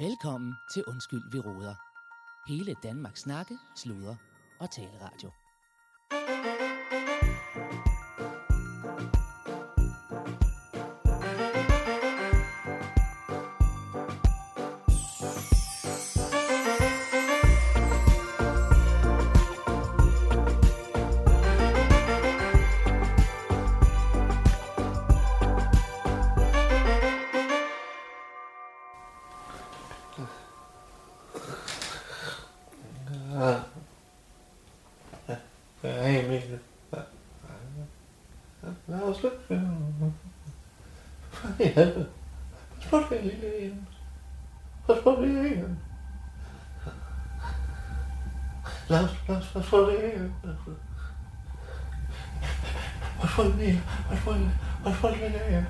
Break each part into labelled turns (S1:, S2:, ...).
S1: Velkommen til Undskyld, vi råder. Hele Danmarks snakke, sludre og taleradio.
S2: Hey, Emil. Hvad? Hvad er slut? Hvad i helvede? Hvad slut det, lille Jens? Hvad slut det, lille Jens? Lad os, lad os, hvad slut det, lille Jens? Hvad slut det, lille Hvad slut det, hvad slut det, lille Jens?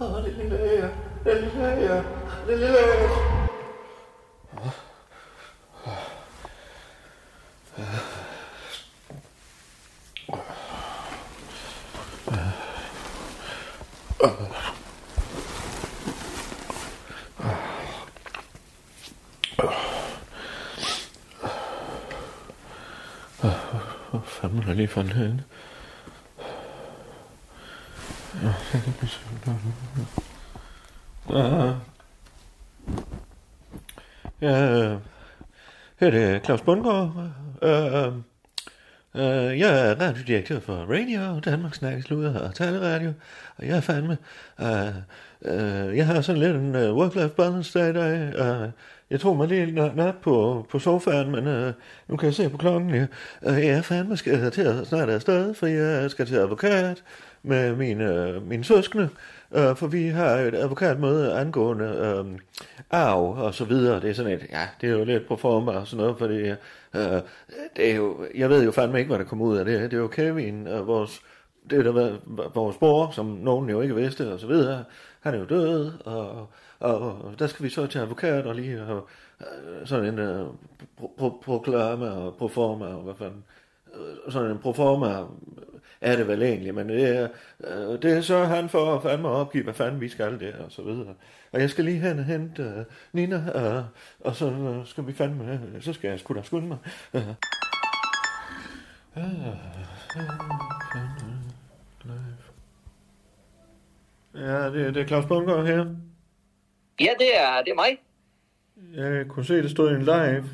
S2: Åh, det lille Jens. Det lille Jens. Det lille Jens. Hvor fanden er der lige for en hende? Ja, øh, her er det Claus Bundgaard. Øh, øh, jeg er radiodirektør for Radio, Danmarks Snakkesluder og Taleradio. Og jeg er fandme... Øh, øh, jeg har sådan lidt en øh, work-life balance dag i dag. Øh, jeg tog mig lige en na- nap på, på sofaen, men øh, nu kan jeg se på klokken. Ja. Øh, jeg er fandme skal til at snart afsted, for jeg skal til advokat med mine, øh, mine søskende, øh, for vi har et advokatmøde angående øh, arv og så videre. Det er sådan et, ja, det er jo lidt på form og sådan noget, fordi øh, det er jo, jeg ved jo fandme ikke, hvad der kommer ud af det. Det er jo Kevin, øh, vores det der var vores bror, som nogen jo ikke vidste og så videre, han er jo død, og, og, og der skal vi så til advokat og lige have øh, sådan en øh, pro, pro, proklama og proforma og hvad fanden. Øh, Sådan en proforma øh, er det vel egentlig, men det er, øh, det er så han for at fandme opgive, hvad fanden vi skal der og så videre. Og jeg skal lige hen og hente øh, Nina, øh, og så øh, skal vi fandme, øh, så skal jeg sgu da skynde mig. Øh. Ja, det, det er Claus Bundgaard her.
S3: Ja, det er, det er mig.
S2: Jeg kunne se, det stod i en live.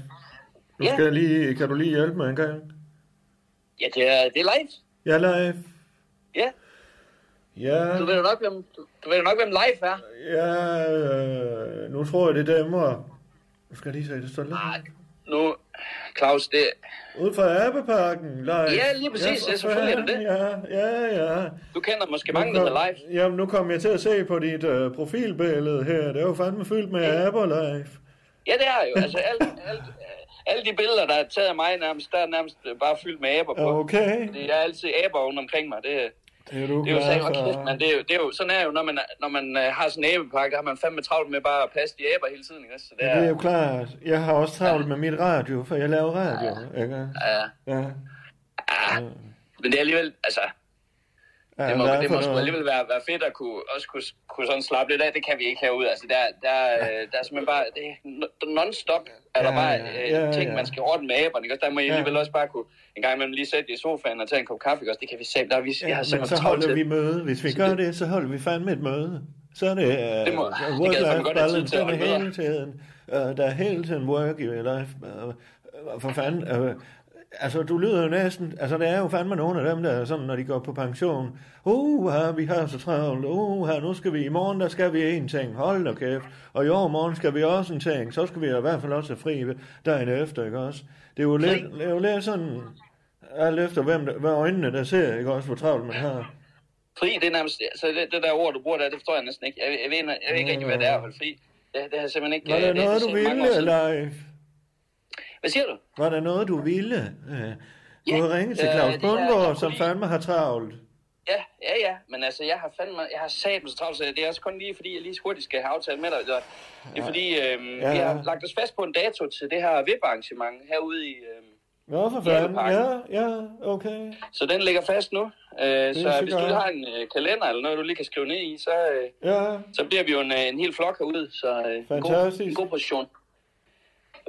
S2: Nu
S3: Ja.
S2: skal jeg lige, kan du lige hjælpe mig en gang?
S3: Ja, det er, det er live.
S2: Ja, live.
S3: Ja,
S2: Ja,
S3: du ved jo nok, hvem, du, du ved jo nok, hvem live er.
S2: ja, øh, nu tror jeg, det er dæmmer. Nu skal jeg lige se, det står
S3: Ah,
S2: live.
S3: nu, Claus, det,
S2: Ude fra Abbeparken, live.
S3: Ja, lige præcis. Ja, selvfølgelig er det det.
S2: Øh, Ja, ja, ja.
S3: du kender måske
S2: Nu
S3: mange, der hedder live.
S2: Jamen, nu kom jeg til at se på dit øh, profilbillede her. Det er jo fandme fyldt med ja. aber live.
S3: Ja, det er jo. Altså, alt, alt, øh, alle de billeder, der er taget af mig nærmest, der er nærmest øh, bare fyldt med aber på.
S2: Okay.
S3: Fordi jeg er altid aber rundt omkring mig. Det,
S2: Det er du altså-
S3: det er jo
S2: glad
S3: sagt,
S2: for.
S3: kæft, men det er jo, det er jo, sådan er jo, når man, er- når man øh, har sådan en æbepakke, der har man fandme travlt med bare at passe de aber hele tiden. Ikke? også? Så det
S2: Ja. Det er jo
S3: er,
S2: klart. Jeg har også travlt med mit radio, for jeg laver radio, ja. ikke?
S3: ja,
S2: Ja.
S3: men det er alligevel, altså,
S2: Ja,
S3: Det må,
S2: der er
S3: det
S2: for
S3: må sgu
S2: noget.
S3: alligevel være, være fedt at kunne, også kunne, kunne sådan slappe lidt af. Det kan vi ikke herude. Altså, der, der, øh, der er simpelthen bare... Det, er no- non-stop er der
S2: Ja,
S3: bare
S2: ja,
S3: øh,
S2: ja,
S3: ting,
S2: ja.
S3: man skal ordne med æberne. Ikke? også? Der må I
S2: Ja.
S3: alligevel også bare kunne en gang imellem lige sætte i sofaen og tage en kop kaffe. Ikke? også? Det kan vi selv. Der er vi, jeg har
S2: Ja, men
S3: simpelthen
S2: så
S3: travlt
S2: holder
S3: til.
S2: vi møde. Hvis vi gør det, så holder vi fandme et møde. Så er det, uh, det
S3: må- det gad jeg fandme godt have tid til at holde møder.
S2: hele tiden, uh, der er hele tiden work i your life. Uh, uh, for fanden, uh, altså du lyder jo næsten, altså det er jo fandme nogle af dem, der er sådan, når de går på pension. Uh, vi har så travlt. Uh, nu skal vi, i morgen der skal vi en ting. Hold da kæft. Og i overmorgen skal vi også en ting. Så skal vi i hvert fald også have fri dagen efter, ikke også? Det er jo lidt, det er jo lidt sådan, alt efter hvem, der, hvad øjnene der ser, ikke også, hvor travlt man har.
S3: Fri, det er nærmest... Altså, det, det der ord, du bruger der, det forstår jeg næsten ikke. Jeg, jeg, ved, jeg ved ikke rigtig, hvad det er at holde fri. Det, det har jeg simpelthen ikke...
S2: Var
S3: øh,
S2: der
S3: det- det
S2: noget,
S3: er
S2: du
S3: set mange år
S2: ville,
S3: siden.
S2: Leif?
S3: Hvad siger du?
S2: Var der noget, du ville? Øh, Du
S3: Ja,
S2: har ringet til
S3: øh,
S2: Claus
S3: det er-
S2: Bundgaard,
S3: jeg
S2: som
S3: kunne lige-
S2: fandme har travlt.
S3: Ja, ja, ja. Men altså, jeg har fandme, jeg har sabelt så travlt, så det er også kun lige, fordi jeg lige hurtigt skal have aftalt med dig. Eller, det er fordi, øhm,
S2: Ja,
S3: ja. vi
S2: ja.
S3: har lagt os fast på en dato til det her VIP-arrangement herude i, øhm,
S2: Nå, for fanden. Ja, ja, okay.
S3: Så den ligger fast nu. Øh, så
S2: sikkert.
S3: hvis du har en øh, kalender eller noget, du lige kan skrive ned i, så, øh,
S2: Ja,
S3: så bliver vi jo en, øh, en hel flok herude. Så øh, en god,
S2: Fantastisk.
S3: en god position.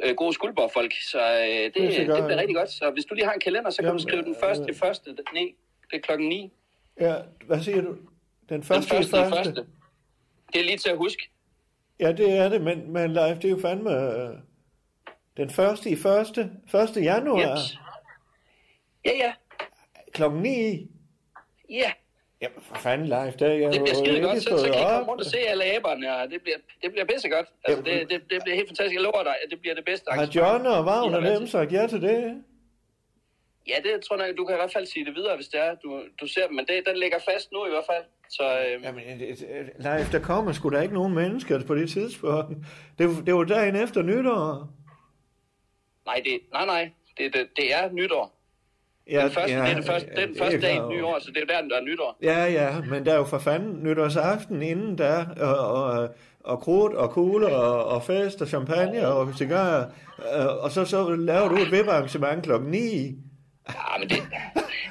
S3: Øh, gode skuldborgfolk. Så øh, det,
S2: er
S3: det, det
S2: sikkert,
S3: bliver
S2: ja.
S3: rigtig godt. Så hvis du lige har en kalender, så kan
S2: Jamen,
S3: du skrive den
S2: øh,
S3: første, det første. Nej, det er klokken 9.
S2: ja. Hvad siger du? Den
S3: Den
S2: første,
S3: første, den første. Det er lige til at huske.
S2: Ja, det er det, men, men live, det er jo fandme... øh, Den første i første, 1. januar,
S3: Jeps. Ja, ja.
S2: klokken 9.
S3: Ja,
S2: Jamen, for fanden live, der er jeg
S3: det bliver
S2: jo
S3: skide
S2: ikke
S3: godt. Så, så
S2: stået
S3: kan jeg komme
S2: op.
S3: rundt og se alle æberne, og det bliver, det bliver pissegodt. Altså,
S2: Jamen.
S3: det, det, det bliver helt fantastisk. Jeg lover dig, at det bliver det bedste.
S2: Har
S3: arrangement.
S2: John og
S3: I
S2: Vagn
S3: har
S2: og
S3: været
S2: dem sagt ja til det?
S3: Ja, det tror jeg, nok, du kan i hvert fald sige det videre, hvis det er, du, du ser dem. Men det, den ligger fast nu i hvert fald. Så øh,
S2: Jamen, live, der kommer sgu da ikke nogen mennesker på det tidspunkt. Det, det var dagen efter nytår.
S3: nej, det, nej, nej, det, det, det er nytår.
S2: Ja,
S3: Den første, ja, det er den første, det er den
S2: jeg
S3: første dag i
S2: klar
S3: det nye
S2: over.
S3: år, så det er jo der, den der er nytår.
S2: Ja, ja, men der er jo for fanden nytårsaften inden der, og, og, og krudt og kugler og, og fest og champagne og cigarer, øh, og så, så laver du et vip-arrangement klokken 9.
S3: Ja, Ah, men det,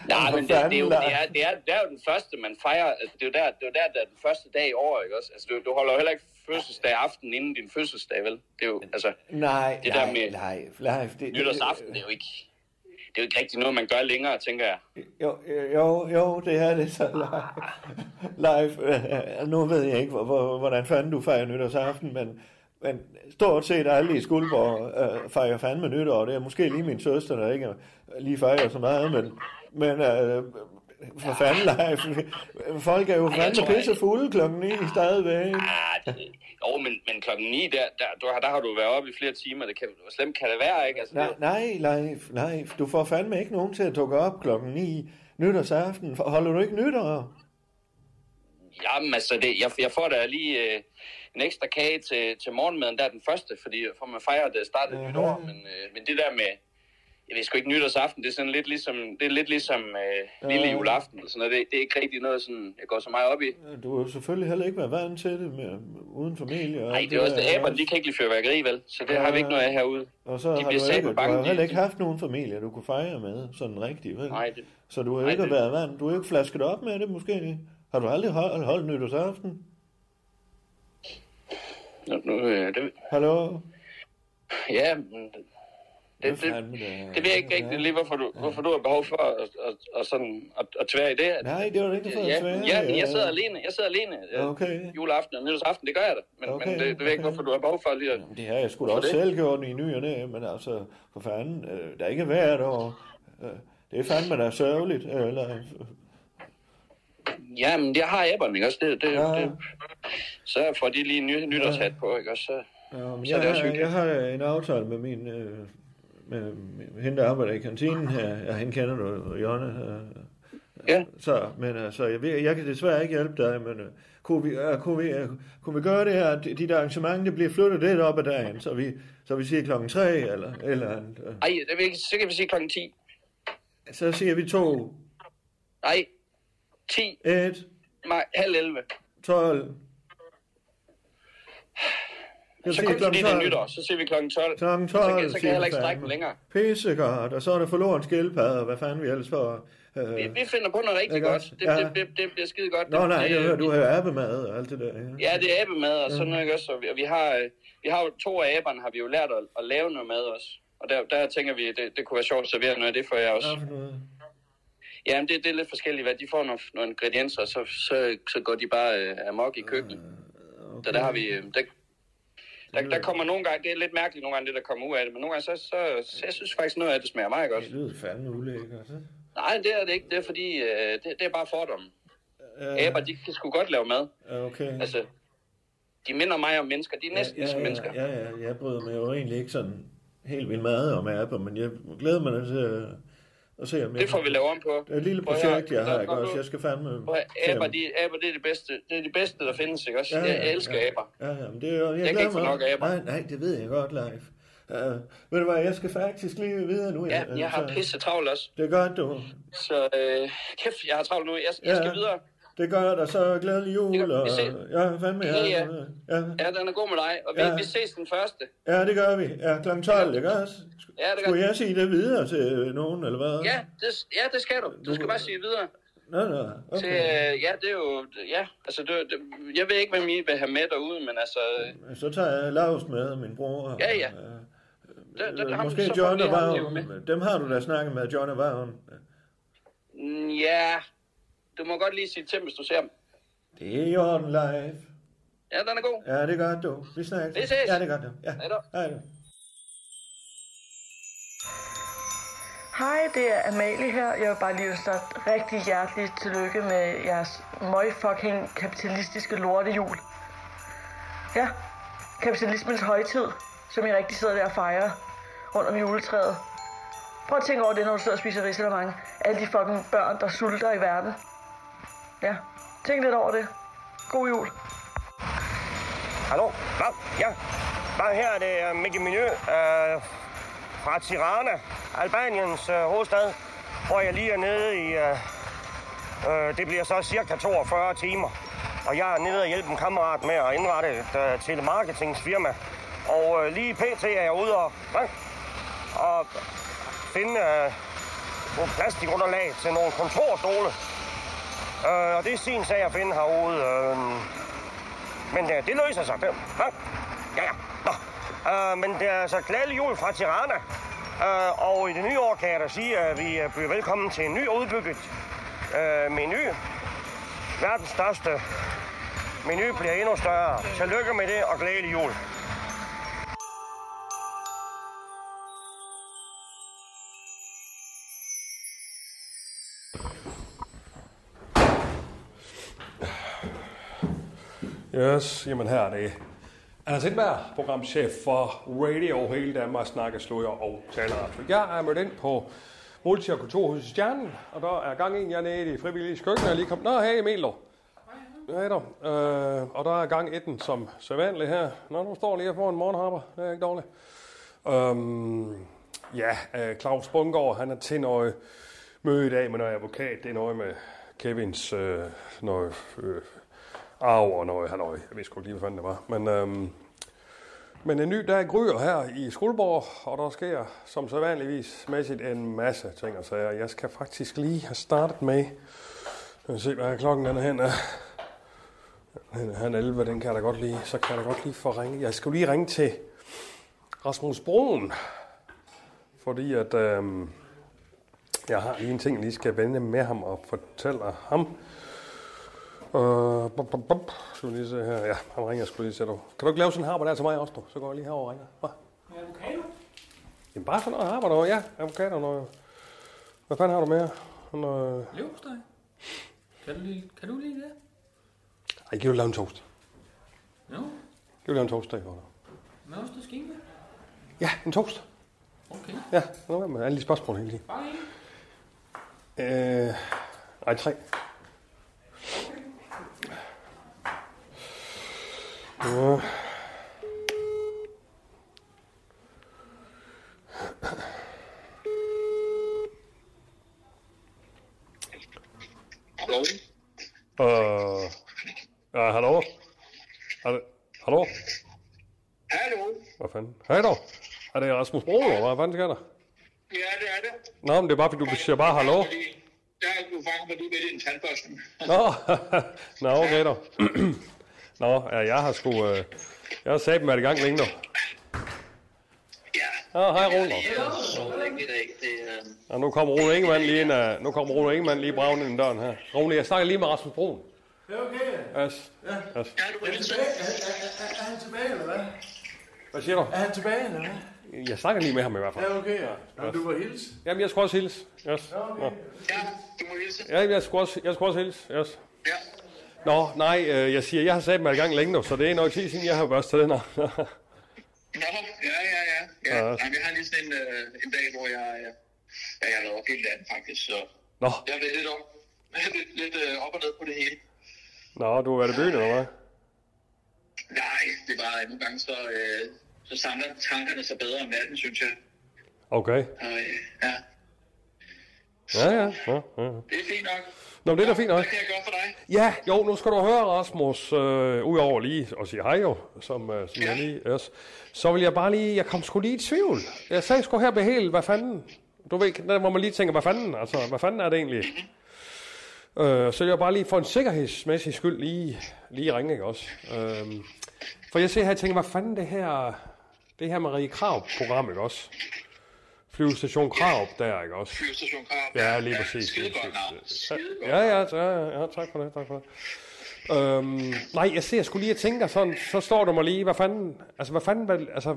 S3: nej, men det, det, er jo, det, er, det, er, det er jo den første, man fejrer. Altså, det er jo der, det er jo der, der er den første dag i år, ikke også? Altså, du, du holder jo heller ikke fødselsdag aften inden din fødselsdag, vel? Det er jo, altså,
S2: Nej,
S3: Det der
S2: nej,
S3: med
S2: nej, nej, det,
S3: nytårsaften, det er jo ikke... Det er jo ikke rigtig noget, man gør længere, tænker jeg.
S2: Jo, jo, jo, det er det så live. live. øh, Nu ved jeg ikke, hvor- hvor- hvordan fanden du fejrer nytårsaften, men, men stort set alle i Skuldborg øh, fejrer fandme nytår. Det er måske lige min søster, der ikke lige fejrer så meget, men, men øh, for fanden live. Folk er jo
S3: tror
S2: fandme
S3: jeg-
S2: pisse fulde klokken 9 stadigvæk.
S3: Ah, det, jo, men, men klokken 9, der, der, du har, der har du været oppe i flere timer. Det kan, hvor slemt kan det være, ikke? Altså,
S2: Nej,
S3: det,
S2: nej, live, live. Du får fandme ikke nogen til at dukke op klokken 9 nytårsaften. Holder du ikke nytår?
S3: jamen, altså, det, jeg, jeg får da lige øh, en ekstra kage til, til morgenmaden, der er den første, fordi for man fejrer det startede
S2: Mhm.
S3: uh-huh. nytår, men, øh, men det der med, jeg ved sgu ikke, nytårsaften, det er sådan lidt ligesom, det er lidt ligesom øh, lille
S2: Ja.
S3: juleaften, eller sådan noget. Det, det er ikke rigtig noget, sådan, jeg går så meget op i.
S2: Du har jo selvfølgelig heller ikke været vant til det med, uden familie. og
S3: Nej,
S2: alt
S3: det er også
S2: der,
S3: det, aberne, de kan ikke lide fyrværkeri, vel? Så det har vi ikke noget af herude.
S2: Og så har du,
S3: bliver
S2: ikke, du
S3: sabelbange,
S2: har jo
S3: de-
S2: heller ikke haft nogen familie, du kunne fejre med, sådan rigtigt, vel?
S3: Nej, det,
S2: Så du har jo
S3: Nej,
S2: ikke
S3: det-
S2: været vant, du har jo ikke flasket op med det måske. Har du aldrig holdt, holdt nytårsaften?
S3: nu, nu, øh, det,
S2: Hallo?
S3: ja, men det, det, det,
S2: fandme da-
S3: Det ved jeg ikke rigtig lige, hvorfor du, hvorfor du har behov for at, at, at, sådan, at, at tvære i det.
S2: Nej, det var det ikke for at
S3: ja,
S2: svære.
S3: ja, men jeg sidder alene. Jeg sidder alene øh,
S2: Okay.
S3: juleaften og nytårsaften. Det gør jeg da. Men,
S2: Okay,
S3: men det, det ved jeg ikke,
S2: okay.
S3: hvorfor du har behov for lige at...
S2: Det har jeg sgu da
S3: Hvorfor
S2: også
S3: det?
S2: selv gjort i ny og næ, men altså, for fanden, øh, der er ikke hvert år. Øh, det er fandme da sørgeligt, øh, eller...
S3: Ja, men det har æberne, ikke også? Det, det,
S2: Ja.
S3: ja. det, så får de lige en ny, nytårshat på, ikke også? Så,
S2: Ja, men
S3: Så er
S2: jeg,
S3: det også
S2: har,
S3: hyggeligt.
S2: jeg har en aftale med min øh, med, med hende, der arbejder i kantinen her. Ja, hende kender du, Jonna. Øh,
S3: ja.
S2: så, men altså, jeg, ved, jeg kan desværre ikke hjælpe dig, men øh, kunne, vi, øh, kunne, vi, øh, kunne vi gøre det her, at de der arrangementer, det bliver flyttet lidt op ad dagen, så vi, så vi siger klokken tre, eller, eller øh,
S3: Ej, det vil, ikke- så kan vi sige klokken 10.
S2: så siger vi to,
S3: Nej, 10,
S2: et,
S3: nej, halv 11.
S2: 12. Jeg
S3: Så kun fordi det er nytår, så siger vi klokken 12.
S2: Klokken
S3: så,
S2: 12,
S3: kan, så kan jeg heller ikke strække den længere.
S2: Pissegodt, og så er der forloren skildpadde, og hvad fanden vi ellers får. Øh,
S3: Vi, vi finder på noget rigtig
S2: Ikke
S3: godt.
S2: også?
S3: Det,
S2: Ja.
S3: det, det, det bliver skide godt.
S2: Nå
S3: Det-
S2: nej,
S3: det-
S2: jeg hører, du har abemad og alt det der. Ja.
S3: Ja, det er abemad og sådan noget, ikke også? Og vi- Og vi har, øh, vi har jo to af aberne, har vi jo lært at, at lave noget mad også. Og der, der tænker vi, det, det kunne være sjovt at servere noget af det for jer
S2: Hvad
S3: også.
S2: for noget?
S3: Ja, men det, det er lidt forskelligt, hvad de får nogle, nogle ingredienser, og så, så, så går de bare øh, amok i køkkenet.
S2: Okay.
S3: Så der har vi... Øh, der, der, der kommer nogle gange, det er lidt mærkeligt nogle gange, det der kommer ud af det, men nogle gange, så, så, så jeg synes faktisk, noget af det smager meget godt.
S2: Det lyder fandme ulækkert. hva'?
S3: Nej, det er det ikke. Det er fordi, øh, det, det er bare fordomme.
S2: Ja,
S3: Aber, de kan sgu godt lave mad.
S2: okay.
S3: Altså, de minder mig om mennesker. De er næsten
S2: ja,
S3: som
S2: ja,
S3: mennesker.
S2: Ja, ja, jeg bryder mig jo egentlig ikke sådan helt vildt meget om aber, men jeg glæder mig da til at- at se, om jeg...
S3: Det får vi lave om på.
S2: Det er et lille
S3: Prøv at
S2: projekt,
S3: høre,
S2: jeg har,
S3: der-
S2: ikke
S3: der-
S2: også? Jeg skal fandme...
S3: Prøv at høre,
S2: se, om-
S3: Aber, de, aber, det er det bedste, det er det bedste, der findes, ikke også?
S2: Ja, ja,
S3: jeg elsker
S2: ja.
S3: aber.
S2: Ja, ja, men det er jo... Jeg,
S3: kan
S2: glæder
S3: ikke få
S2: mig.
S3: nok af aber.
S2: Nej, nej, det ved jeg godt, live. Uh, ved du hvad, jeg skal faktisk lige videre nu.
S3: Ja, jeg har
S2: så-
S3: pisse travlt også.
S2: Det er godt, du.
S3: Så øh, kæft, jeg har travlt nu. Jeg, jeg skal
S2: Ja.
S3: videre.
S2: Det gør der så glædelig jul.
S3: Det gør-
S2: Og,
S3: vi ses.
S2: ja, fandme. Ja,
S3: Ja,
S2: ja. ja.
S3: ja. Ja, den er god med dig, og vi,
S2: Ja.
S3: ja. vi ses den første.
S2: ja det gør vi. Ja, kl. 12, ikke også?
S3: Ja, det gør
S2: Skulle jeg sige det videre til nogen, eller hvad?
S3: Ja, det, ja, det skal du. Du skal bare sige videre.
S2: Nå, nå,
S3: Okay. Til,
S2: okay.
S3: øh, ja, det er jo... Ja, altså, det, det, jeg ved ikke, hvem I vil have med derude, men altså... øh,
S2: Så tager jeg Lars med, min bror.
S3: Ja, ja.
S2: Øh,
S3: Der, der,
S2: øh,
S3: ham-
S2: Måske
S3: så får
S2: John
S3: vi
S2: og
S3: ham jo med.
S2: Vagn. Dem har du da snakket med, John og Vagn.
S3: Mm, Ja, du må godt lige sige til, hvis du ser ham.
S2: Det er Jordan Live.
S3: Ja, den er god.
S2: Ja, det er godt, du. Vi snakkes.
S3: Vi ses.
S2: Ja, det er godt, du. Ja.
S3: Hej då.
S2: Hej du.
S4: Hej, det er Amalie her. Jeg vil bare lige snakke rigtig hjerteligt tillykke med jeres møgfucking kapitalistiske lortejul. Ja, kapitalismens højtid, som I rigtig sidder der og fejrer rundt om juletræet. Prøv at tænke over det, når du sidder og spiser risalemang. Alle de fucking børn, der sulter i verden. Ja, tænk lidt over det. God jul.
S5: Hallo? Hvad? Ja. Hvad her? Det er Mickey Minø øh, fra Tirana, Albaniens øh, hovedstad, hvor jeg lige er nede i... Øh, øh, det bliver så cirka 42 timer. Og jeg er nede og hjælpe en kammerat med at indrette et øh, telemarketingsfirma. Og øh, lige pt. er jeg ude og, øh, og finde øh, nogle plastikunderlag til nogle kontorstole. Øh, og det er sin sag at finde herude. Øh, men øh, det løser sig. Det, hva? ja, ja. Nå. Øh, men det er så glædelig jul fra Tirana. Øh, og i det nye år kan jeg da sige, at vi øh, byder velkommen til en ny udbygget øh, menu. Verdens største menu bliver endnu større. Tillykke med det, og glædelig jul.
S6: Yes, jamen her er det. Anders Hindberg, programchef for Radio hele Danmark, snakker, sløjer og taler. Jeg er mødt ind på Multi- og Kulturhuset Stjernen, og der er gang i, jeg er nede i det frivillige køkken, og jeg er lige kommet. Nå, hey Emil, du. Ja, du. Øh, og der er gang 1 som sædvanlig her. Nå, nu står lige her foran morgenhopper. Det er ikke dårligt. Øhm, ja, øh, Claus Bungård, han er til noget møde i dag med noget advokat. Det er noget med Kevins øh, noget, øh, arv og noget halløj. Jeg ved sgu ikke lige, hvad fanden det var. Men, øhm, men en ny dag gryer her i Skuldborg, og der sker som så vanligvis mæssigt en masse ting og sager. Jeg skal faktisk lige have startet med... Lad os se, hvad klokken den er hen af. Den er hen 11, den kan jeg da godt lige, så kan jeg da godt lige få ringe. Jeg skal jo lige ringe til Rasmus Broen, fordi at øhm, jeg har lige en ting, jeg lige skal vende med ham og fortælle ham. Øh, bop, bop, bop. Skal vi lige se her. Ja, han ringer sgu lige, siger du. Kan du ikke lave sådan en harper der til mig også, du? Så går jeg lige herover og ringer. Hva? Jamen bare sådan noget harper, du. Ja, avocado og noget. Hvad fanden har du med her? Noget...
S7: Leverpostej? Kan du lide, kan du lide det?
S6: Ej, giv du lave en toast.
S7: Jo.
S6: Giv du lave en toast, der går
S7: Med ost og skinke?
S6: Ja, en toast.
S7: Okay.
S6: Ja, nu er med alle de spørgsmål hele tiden.
S7: Bare en.
S6: Øh, ej, tre. Ja.
S3: Hallo?
S6: Øh, ja, hallo? Er det, hallo?
S3: Hallo?
S6: Hvad fanden? Hej då. Er det Rasmus Bro, eller hvad fanden sker der?
S3: Ja, det er det.
S6: Nå, men det er bare, fordi du siger bare hallo.
S3: Der er du fanget mig lige med din tandbørste.
S6: Nå, Nå okay då. Nå, ja, jeg har sgu... Øh, jeg har sat mig i gang længe nu.
S3: Ja.
S6: Ja, hej Rune.
S3: Så ikke i dag. Det, øh...
S6: Ja, nu kommer Rune Ingemann lige ind, øh, nu kommer Rune Ingemann lige braven ind i døren her. Rune, jeg snakker lige med Rasmus Broen.
S2: Det er okay.
S6: Yes. yes.
S3: Ja, du er helt
S2: Er, er, er han tilbage, eller hvad?
S6: Hvad siger du?
S2: Er han tilbage, eller hvad?
S6: Jeg snakker lige med ham i hvert fald.
S2: Ja, okay, ja. Nå, du var hils.
S6: Jamen, jeg skulle også hilse. Yes. Nå.
S3: Ja, du må hilse.
S6: Ja, jeg skulle også, jeg skulle også hilse. Yes.
S3: Ja.
S6: Nå, nej, øh, jeg siger, jeg har sat mig i gang længe nu, så det er nok tid siden, jeg har børstet den her.
S3: Nå, ja, ja, ja. ja.
S6: Ja.
S3: Jamen, jeg har lige sådan en, øh, en dag, hvor jeg, øh, ja, jeg har lavet op hele landet faktisk, så
S6: Nå,
S3: jeg er lidt, om, lidt, lidt øh, op og ned på det hele.
S6: nå, du har været i byen, eller hvad?
S3: Nej, det var nogle gange, så, øh, så samler tankerne sig bedre om natten, synes jeg.
S6: Okay.
S3: Og, øh, ja.
S6: Ja, ja, ja, ja.
S3: Det er fint nok.
S6: Nå, men det er da fint nok.
S3: Hvad kan jeg gøre for dig?
S6: Ja, jo, nu skal du høre, Rasmus, øh, udover lige at sige hej jo, som, øh, som ja. jeg lige yes. så vil jeg bare lige, jeg kom sgu lige i tvivl. Jeg sagde sgu her med helt, hvad fanden? Du ved, der må man lige tænke, hvad fanden, altså, hvad fanden er det egentlig?
S3: Mhm.
S6: Øh, så jeg bare lige for en sikkerhedsmæssig skyld lige, lige ringe, ikke også? Øh, for jeg ser her og tænker, hvad fanden det her, det her Marie Krav-program, ikke også? Flyvestation Krav der, ikke også?
S3: Fyrstation Krarup.
S6: Ja, lige præcis.
S3: Skide
S6: lige
S3: godt navn.
S6: præcis.
S3: Skide godt.
S6: Ja, ja, ja, ja, tak for det, tak for det. Øhm, nej, jeg ser, jeg skulle lige og tænker sådan, så står du mig lige, hvad fanden, altså hvad fanden, hvad, altså,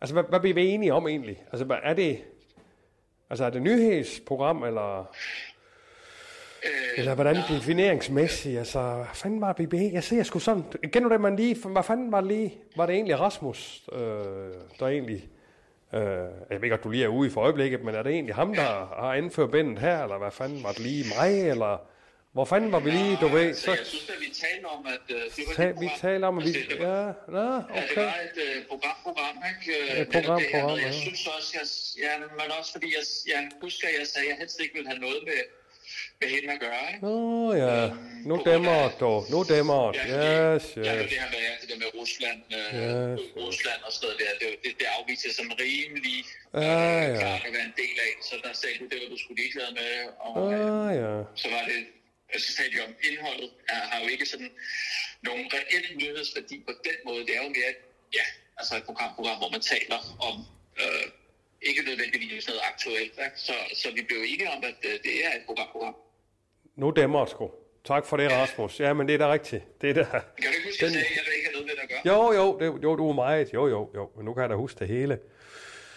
S6: altså hvad, hvad bliver vi enige om egentlig? Altså hvad er det, altså er det nyhedsprogram, eller,
S3: Øh,
S6: eller hvordan defineringsmæssigt, altså hvad fanden var det, vi blev enige? Jeg ser, jeg skulle sådan, igen det man lige, hvad fanden var det lige, var det egentlig Rasmus, øh, der egentlig, Øh, jeg ved godt, du lige er ude i for øjeblikket, men er det egentlig ham, der har anført bændet her, eller hvad fanden var det lige mig, eller hvor fanden var vi lige, du ved,
S3: Så
S6: så
S3: jeg synes, at vi talte om, at øh, det var
S6: ta-
S3: det
S6: vi
S3: program.
S6: taler om, at vi,
S3: Altså, det var-
S6: ja, nå,
S3: Ja, det
S6: okay,
S3: var et øh, program-program, ikke? Øh,
S6: Et
S3: men det
S6: program-
S3: her med-
S6: program,
S3: Jeg
S6: ja.
S3: synes også, jeg, ja, men også fordi jeg, jeg husker, at jeg sagde, at jeg helst ikke ville have noget med, med hende at gøre, ikke?
S6: nå ja, nu dæmmer du, nu dæmmer du,
S3: fordi-
S6: yes,
S3: Ja, men
S6: yes,
S3: det her med, det der med Rusland, øh,
S6: Yes, yes.
S3: Rusland og sådan noget der, det, det, det afviser jeg som rimelig øh,
S6: Ja, Ah, ja.
S3: klart at være en del af, så der sagde du, det var du skulle ligeglad med, og øh,
S6: ah ja,
S3: så var det, så talte vi om indholdet, er, har jo ikke sådan nogen reel nyhedsværdi på den måde, det er jo mere, ja, altså et program, program hvor man taler om, øh, ikke nødvendigvis noget aktuelt, ikke? så, så vi blev enige om, at øh, det er et program, program.
S6: nu dæmmer du sgu. Tak for det, Rasmus. Ja, men det er da rigtigt. Det er da.
S3: Kan du ikke huske,
S6: Den-
S3: at jeg sagde, at jeg vil ikke have noget med det at gøre?
S6: Jo, jo, det, jo, du er meget. Jo, jo, jo. Men nu kan jeg da huske det hele.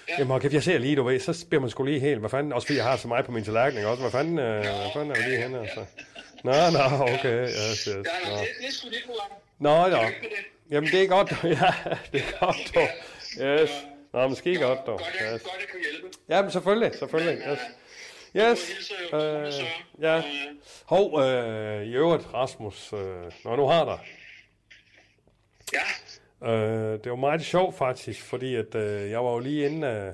S6: Ja. Jamen, okay, jeg ser lige, du ved, så bliver man sgu lige helt. Hvad fanden? Også fordi jeg har så meget på min tallerken, ikke også? Hvad fanden, øh, hvad fanden er vi lige henne? Altså? Nå, nå, okay. Yes, yes,
S3: Ja,
S6: nå.
S3: det, det er sgu det program.
S6: Nå, nå.
S3: Lykke med det.
S6: Jamen, det er godt, du. Ja, det er godt, du. Yes. Nå, måske godt, dog.
S3: Godt, jeg,
S6: Yes.
S3: godt, jeg kunne hjælpe.
S6: Jamen, selvfølgelig, selvfølgelig. Yes. Yes.
S3: Øh,
S6: Øh, ja. Hov, øh, i øvrigt, Rasmus, øh, når nu har dig,
S3: ja,
S6: Øh, det var meget sjovt faktisk, fordi at, øh, jeg var jo lige inde øh,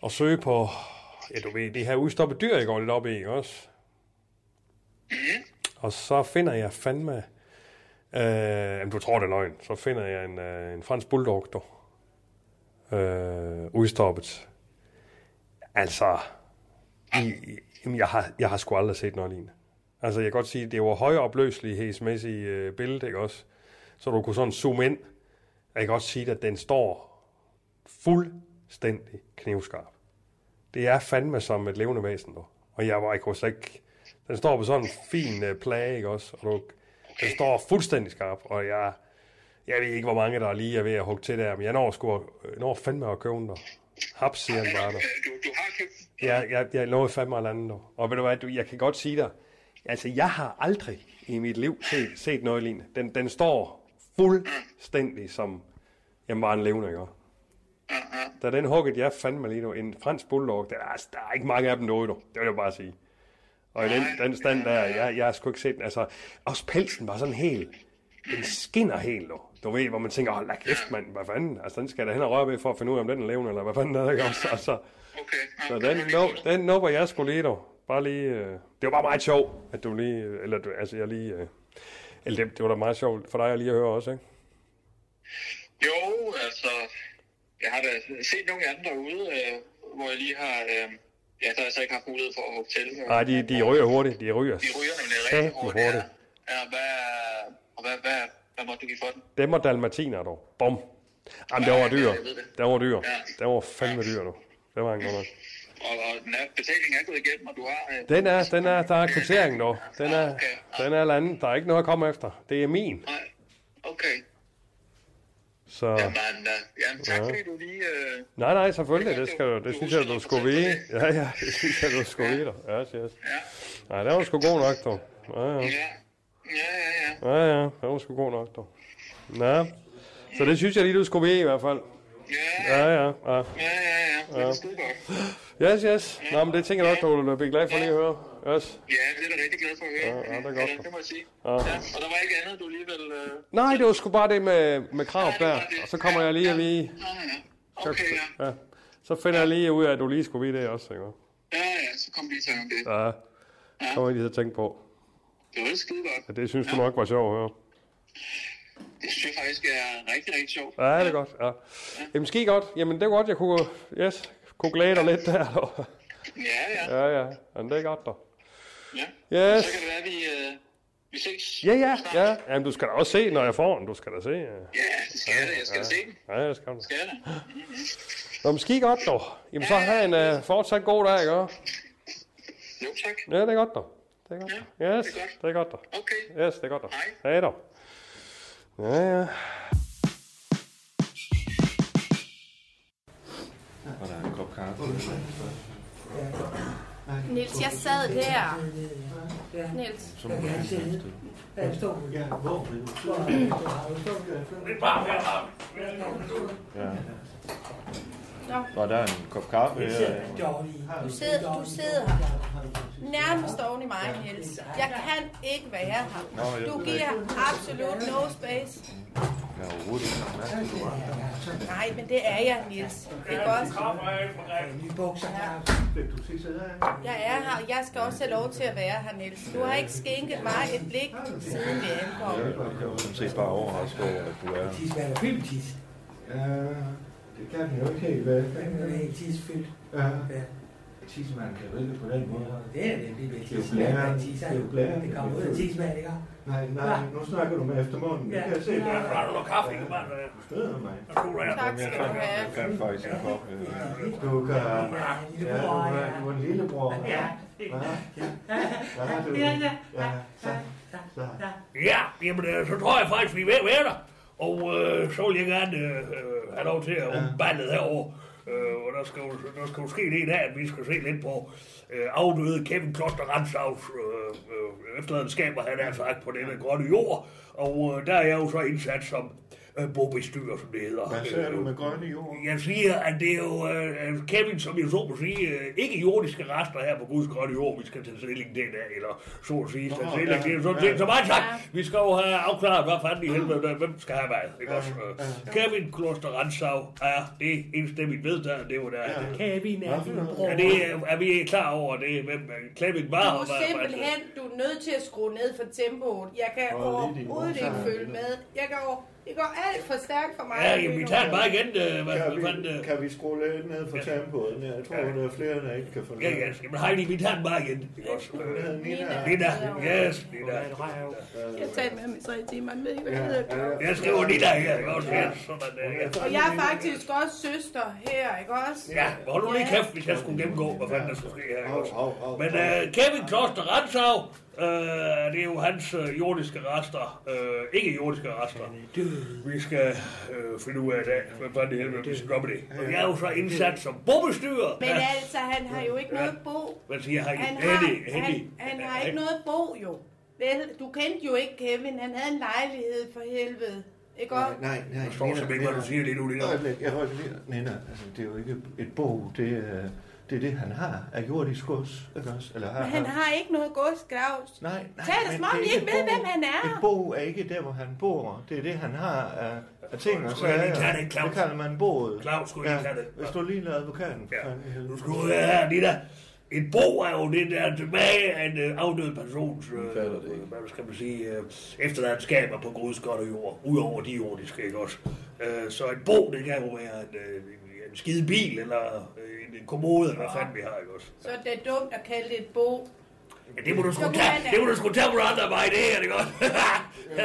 S6: og søge på, ja du ved, det her udstoppet dyr, jeg går lidt op i, ikke også? Og så finder jeg fandme, øh, jamen du tror det er løgn, så finder jeg en, øh, en fransk bulldog, du. Øh, udstoppet. Altså, i, i- jamen, jeg, har, jeg har sgu aldrig set noget lignende. Altså, jeg kan godt sige, det var højopløselighedsmæssigt øh, billede, ikke også? Så du kunne sådan zoome ind. Jeg kan godt sige, at den står fuldstændig knivskarp. Det er fandme som et levende væsen, du. Og jeg var ikke hos ikke... Den står på sådan en fin øh, plage, ikke også? Og du, den står fuldstændig skarp, og jeg... Jeg ved ikke, hvor mange der lige er ved at hugge til der, men jeg når, sgu, at- når fandme at købe den, der. Haps, siger han bare der.
S3: du, Øh, du har købt.
S6: Jeg, jeg, jeg lovede fandme at lande dog. Og ved du hvad, du, jeg kan godt sige dig, altså jeg har aldrig i mit liv set, set noget lignende. Den, den står fuldstændig som, jamen var en levende, ikke? Da den hugget, jeg fandme lige nu, en fransk bulldog, der, altså, der er ikke mange af dem derude, du. det vil jeg bare sige. Og i den, den stand der, jeg, jeg har sgu ikke set den, altså, også pelsen var sådan helt, den skinner helt, du. Du ved, hvor man tænker, åh, lad kæft, mand, hvad fanden, altså den skal jeg da hen og røre ved for at finde ud af, om den er levende, eller hvad fanden er det, ikke? også? Altså,
S3: Okay.
S6: så den, no, den nupper jeg skulle lige, dog. Bare lige... Øh, det var bare meget sjovt, at du lige... øh, Eller, du- altså, jeg lige... Øh, eller det, det var da meget sjovt for dig at lige at høre også, ikke?
S3: Jo, altså, jeg har da set nogle andre derude, øh, hvor jeg lige har, øh, ja, der har jeg så ikke haft mulighed for at hoppe til.
S6: Nej, de, de ryger hurtigt. De ryger,
S3: de ryger nemlig
S6: satme
S3: rigtig hurtigt. Ja, ja hvad, og hvad, hvad, hvad måtte du give for den?
S6: Dem og dalmatiner, dog. Bum. Jamen, det var dyr.
S3: jeg ved det.
S6: Det var dyr.
S3: Ja.
S6: Det var fandme dyr, du. Det var en god nok.
S3: Og, og den er, betalingen er gået igennem, og du har... Øh,
S6: Den er, den er, der er kvittering, dog. Den er, den er landet. Der er ikke noget at komme efter. Det er min.
S3: Nej, okay.
S6: Så...
S3: Jamen, øh, jamen tak fordi du lige... Øh,
S6: Nej, nej, selvfølgelig. Det, skal, du- det synes jeg, du skulle vide. Ja, ja, det synes jeg, du skulle vide. dig. Yes, yes. Nej, det var sgu god nok, dog. Ja, ja.
S3: ja, ja, ja, ja.
S6: Ja, ja, det var sgu god nok, dog. Nå, så det synes jeg lige, du skulle vide i hvert fald.
S3: Ja,
S6: Ja, ja, ja.
S3: ja, ja, ja. Det er skide godt.
S6: Yes, yes. Nå, men det tænker jeg nok, du vil blive glad for lige at høre. Yes.
S3: Ja, det er da rigtig glad for at høre.
S6: Ja, ja, det er godt.
S3: det må jeg sige.
S6: Ja.
S3: Ja, og der var ikke andet, du alligevel... Øh,
S6: Nej, det var sgu bare det med, med krav der. Og så kommer jeg lige og lige...
S3: ja, ja. Okay, ja.
S6: Ja. Så finder jeg lige ud af, at du lige skulle vide det også, ikke?
S3: Ja, ja, så kom lige i tanke om det.
S6: Ja, det kommer jeg lige til at tænke på.
S3: Det var da skide godt.
S6: Ja, det synes du nok var sjovt at høre.
S3: Det synes jeg faktisk er rigtig, rigtig sjovt.
S6: Ja, det er godt. Ja. Jamen, ski godt. Jamen, det er godt, jeg kunne, yes, kunne glæde dig lidt der. dog.
S3: Ja, ja.
S6: Ja, ja. Jamen, det er godt, dog.
S3: ja.
S6: Yes.
S3: Så kan det være, at vi, øh, vi ses.
S6: Ja, ja,
S3: snart.
S6: ja. Jamen, du skal da også se, når jeg får den. Du skal da se. Ja,
S3: Ja, det skal jeg da. Jeg skal da se den.
S6: ja det skal du.
S3: Skal jeg da.
S6: Nå, men ski godt, dog. Jamen, så har en uh, fortsat god dag, ikke? også?
S3: Jo, tak.
S6: Ja, det er godt, dog. Det er godt. dog. Yes,
S3: det er godt.
S6: det er godt, dog.
S3: Okay.
S6: Yes, det er godt, dog.
S3: Hej.
S6: Hej, dog. Ja, ja.
S2: Og der er en kop kaffe.
S8: Nils, jeg sad der. Nils.
S2: Og der er en kop kaffe. Ja,
S8: Du sidder, du sidder her. Nærmest oven i mig, Niels. Jeg kan ikke være her. Du giver absolut no space.
S2: Jeg har overhovedet ikke lagt mærke til, du var her.
S8: Nej, men det er jeg, Niels. Det er godt. Jeg er her, og jeg skal også have lov til at være her, Niels. Du har ikke skænket mig et blik, siden vi ankom.
S2: Jeg var sådan set bare overrasket over, at du er her.
S9: Tis, hvad er der fyldt tis?
S10: Ja, det kan den jo ikke helt være.
S9: Den er ikke tis fyldt.
S10: Ja,
S9: Ja.
S10: tidsmanden kan jo ikke på den måde.
S9: Det er det, vi vil
S10: Det er jo
S9: tis. Det
S10: blæren.
S9: er tis,
S10: Det er jo blæren.
S9: Det kommer ud af tis, mand, ikke?
S10: Nej, nej, nu snakker du med eftermunden. Det kan jeg se.
S9: Ja.
S10: Ja,
S7: du noget kaffe? Du bare
S10: du støder mig.
S8: Tak skal du have.
S2: Jeg kan faktisk en kop. øh,
S10: Du kan...
S9: Ja, en
S10: Ja,
S9: lillebror,
S10: du
S9: ja.
S10: er, du er en lillebror.
S9: Ja.
S10: Hva? Hvad har du?
S9: Ja, ja.
S10: Ja, så, så.
S7: Ja, jamen, øh, så tror jeg faktisk, vi er ved at være der. Og øh, så vil jeg gerne øh, have lov til at åbne ballet herovre. Øh, og der skal, jo- der skal jo ske det i dag, at vi skal se lidt på øh, afdøde Kevin Kloster Ransavs øh, øh, efterladenskaber, han har sagt, på denne grønne jord. Og øh, der er jeg jo så indsat som øh, bobestyrer, som det hedder.
S2: Hvad ser du med grønne jord?
S7: Jeg siger, at det er jo øh, Kevin, som jeg så må sige, øh, ikke jordiske rester her på Guds grønne jord, vi skal tage stilling til der, eller så at sige, tage
S2: Nå,
S7: stilling
S2: ja,
S7: til. Så,
S2: ja.
S7: ja. så meget sagt, vi skal jo have afklaret, hvad fanden i helvede, der- hvem skal have hvad, ikke også? Øh, Kevin Kloster Ransau er det enstemmigt vedtaget, det var der.
S9: Kevin er din bror.
S7: Er, det, øh, er vi klar over det, hvem øh, Kevin var?
S8: Du
S7: og
S8: er
S7: hvad-
S8: simpelthen du er nødt til at skrue ned for tempoet. Jeg kan
S10: Og lige din
S8: overhovedet
S10: motor.
S8: ikke følge med. Jeg kan over... Det går alt for stærkt for mig.
S7: Ja, jamen, vi tager den bare igen. øh, Hvad,
S2: Kan
S7: hvad fanden...
S2: vi,
S7: øh,
S2: kan vi skrue lidt ned for tempoet? Jeg tror, der er flere, der ikke kan fornemme.
S7: Ja, ja, jamen Heidi, vi tager den bare igen, ikke også? Øh,
S8: Nina.
S7: Nina, yes, Nina.
S8: Jeg har talt med ham i tre timer. Han ved ikke, hvad jeg hedder.
S7: Jeg skriver Nina her, ikke også? Ja, sådan der. Ja.
S8: Og jeg er faktisk også søster her, ikke også?
S7: Ja, hold nu lige
S8: Ja.
S7: kæft, hvis jeg skulle gennemgå, hvad fanden der skulle ske her. ikke også?
S2: Hov, hov, hov.
S7: Men øh, Kevin Kloster Ransau, øh, det er jo hans øh, jordiske rester, øh, ikke jordiske rester, vi skal øh, finde ud af i dag, hvad fanden i helvede, vi skal gøre med det. Og jeg er jo så indsat som bombestyrer.
S8: Men altså, han har jo ikke noget bo.
S7: Hvad siger han?
S8: Han
S7: Henny,
S8: har,
S7: Henny.
S8: han, han har ikke noget bo, jo. Vel, du kendte jo ikke Kevin. Han havde en lejlighed for helvede. Ikke også?
S2: Nej, nej, nej.
S7: Jeg forstår simpelthen ikke, hvad du siger lige nu, Nina.
S2: Øjeblik, jeg holder lige. Nina, altså, det er jo ikke et bog, det er, det, er det han har af jordisk gods, ikke også? Eller har,
S8: Men han har ikke noget gods, Claus.
S2: Nej, nej.
S8: Tal det,
S2: men
S8: som om
S2: er
S8: I ikke ved,
S2: et
S8: hvem
S2: bo.
S8: han er.
S2: Et bog er ikke der, hvor han bor. Det er det, han har af, af ting og
S7: Skulle jeg lige tage
S2: sager.
S7: det, Claus?
S2: Det kalder man boet.
S7: Claus, skulle jeg lige tage det?
S2: Hvis du lige lader advokaten. for
S7: Ja.
S2: fanden i helvede.
S7: Nu skal du høre her, Nina. Et bo er jo det der er tilbage af en øh, afdød persons, øh, hvad skal man sige, øh, efterladenskaber på godskot og jord, udover de jordiske, ikke også? Øh, så et bo, det kan jo være en, øh, en- en skide bil, eller øh, en- en kommode, eller hvad fanden vi har, ikke også?
S8: Så det er dumt at kalde det et bo.
S7: Ja, det må du sgu
S8: Så
S7: tage,
S8: kan jeg-
S7: det må du sgu tage på andre af mig, det her, ikke også?
S2: Hvad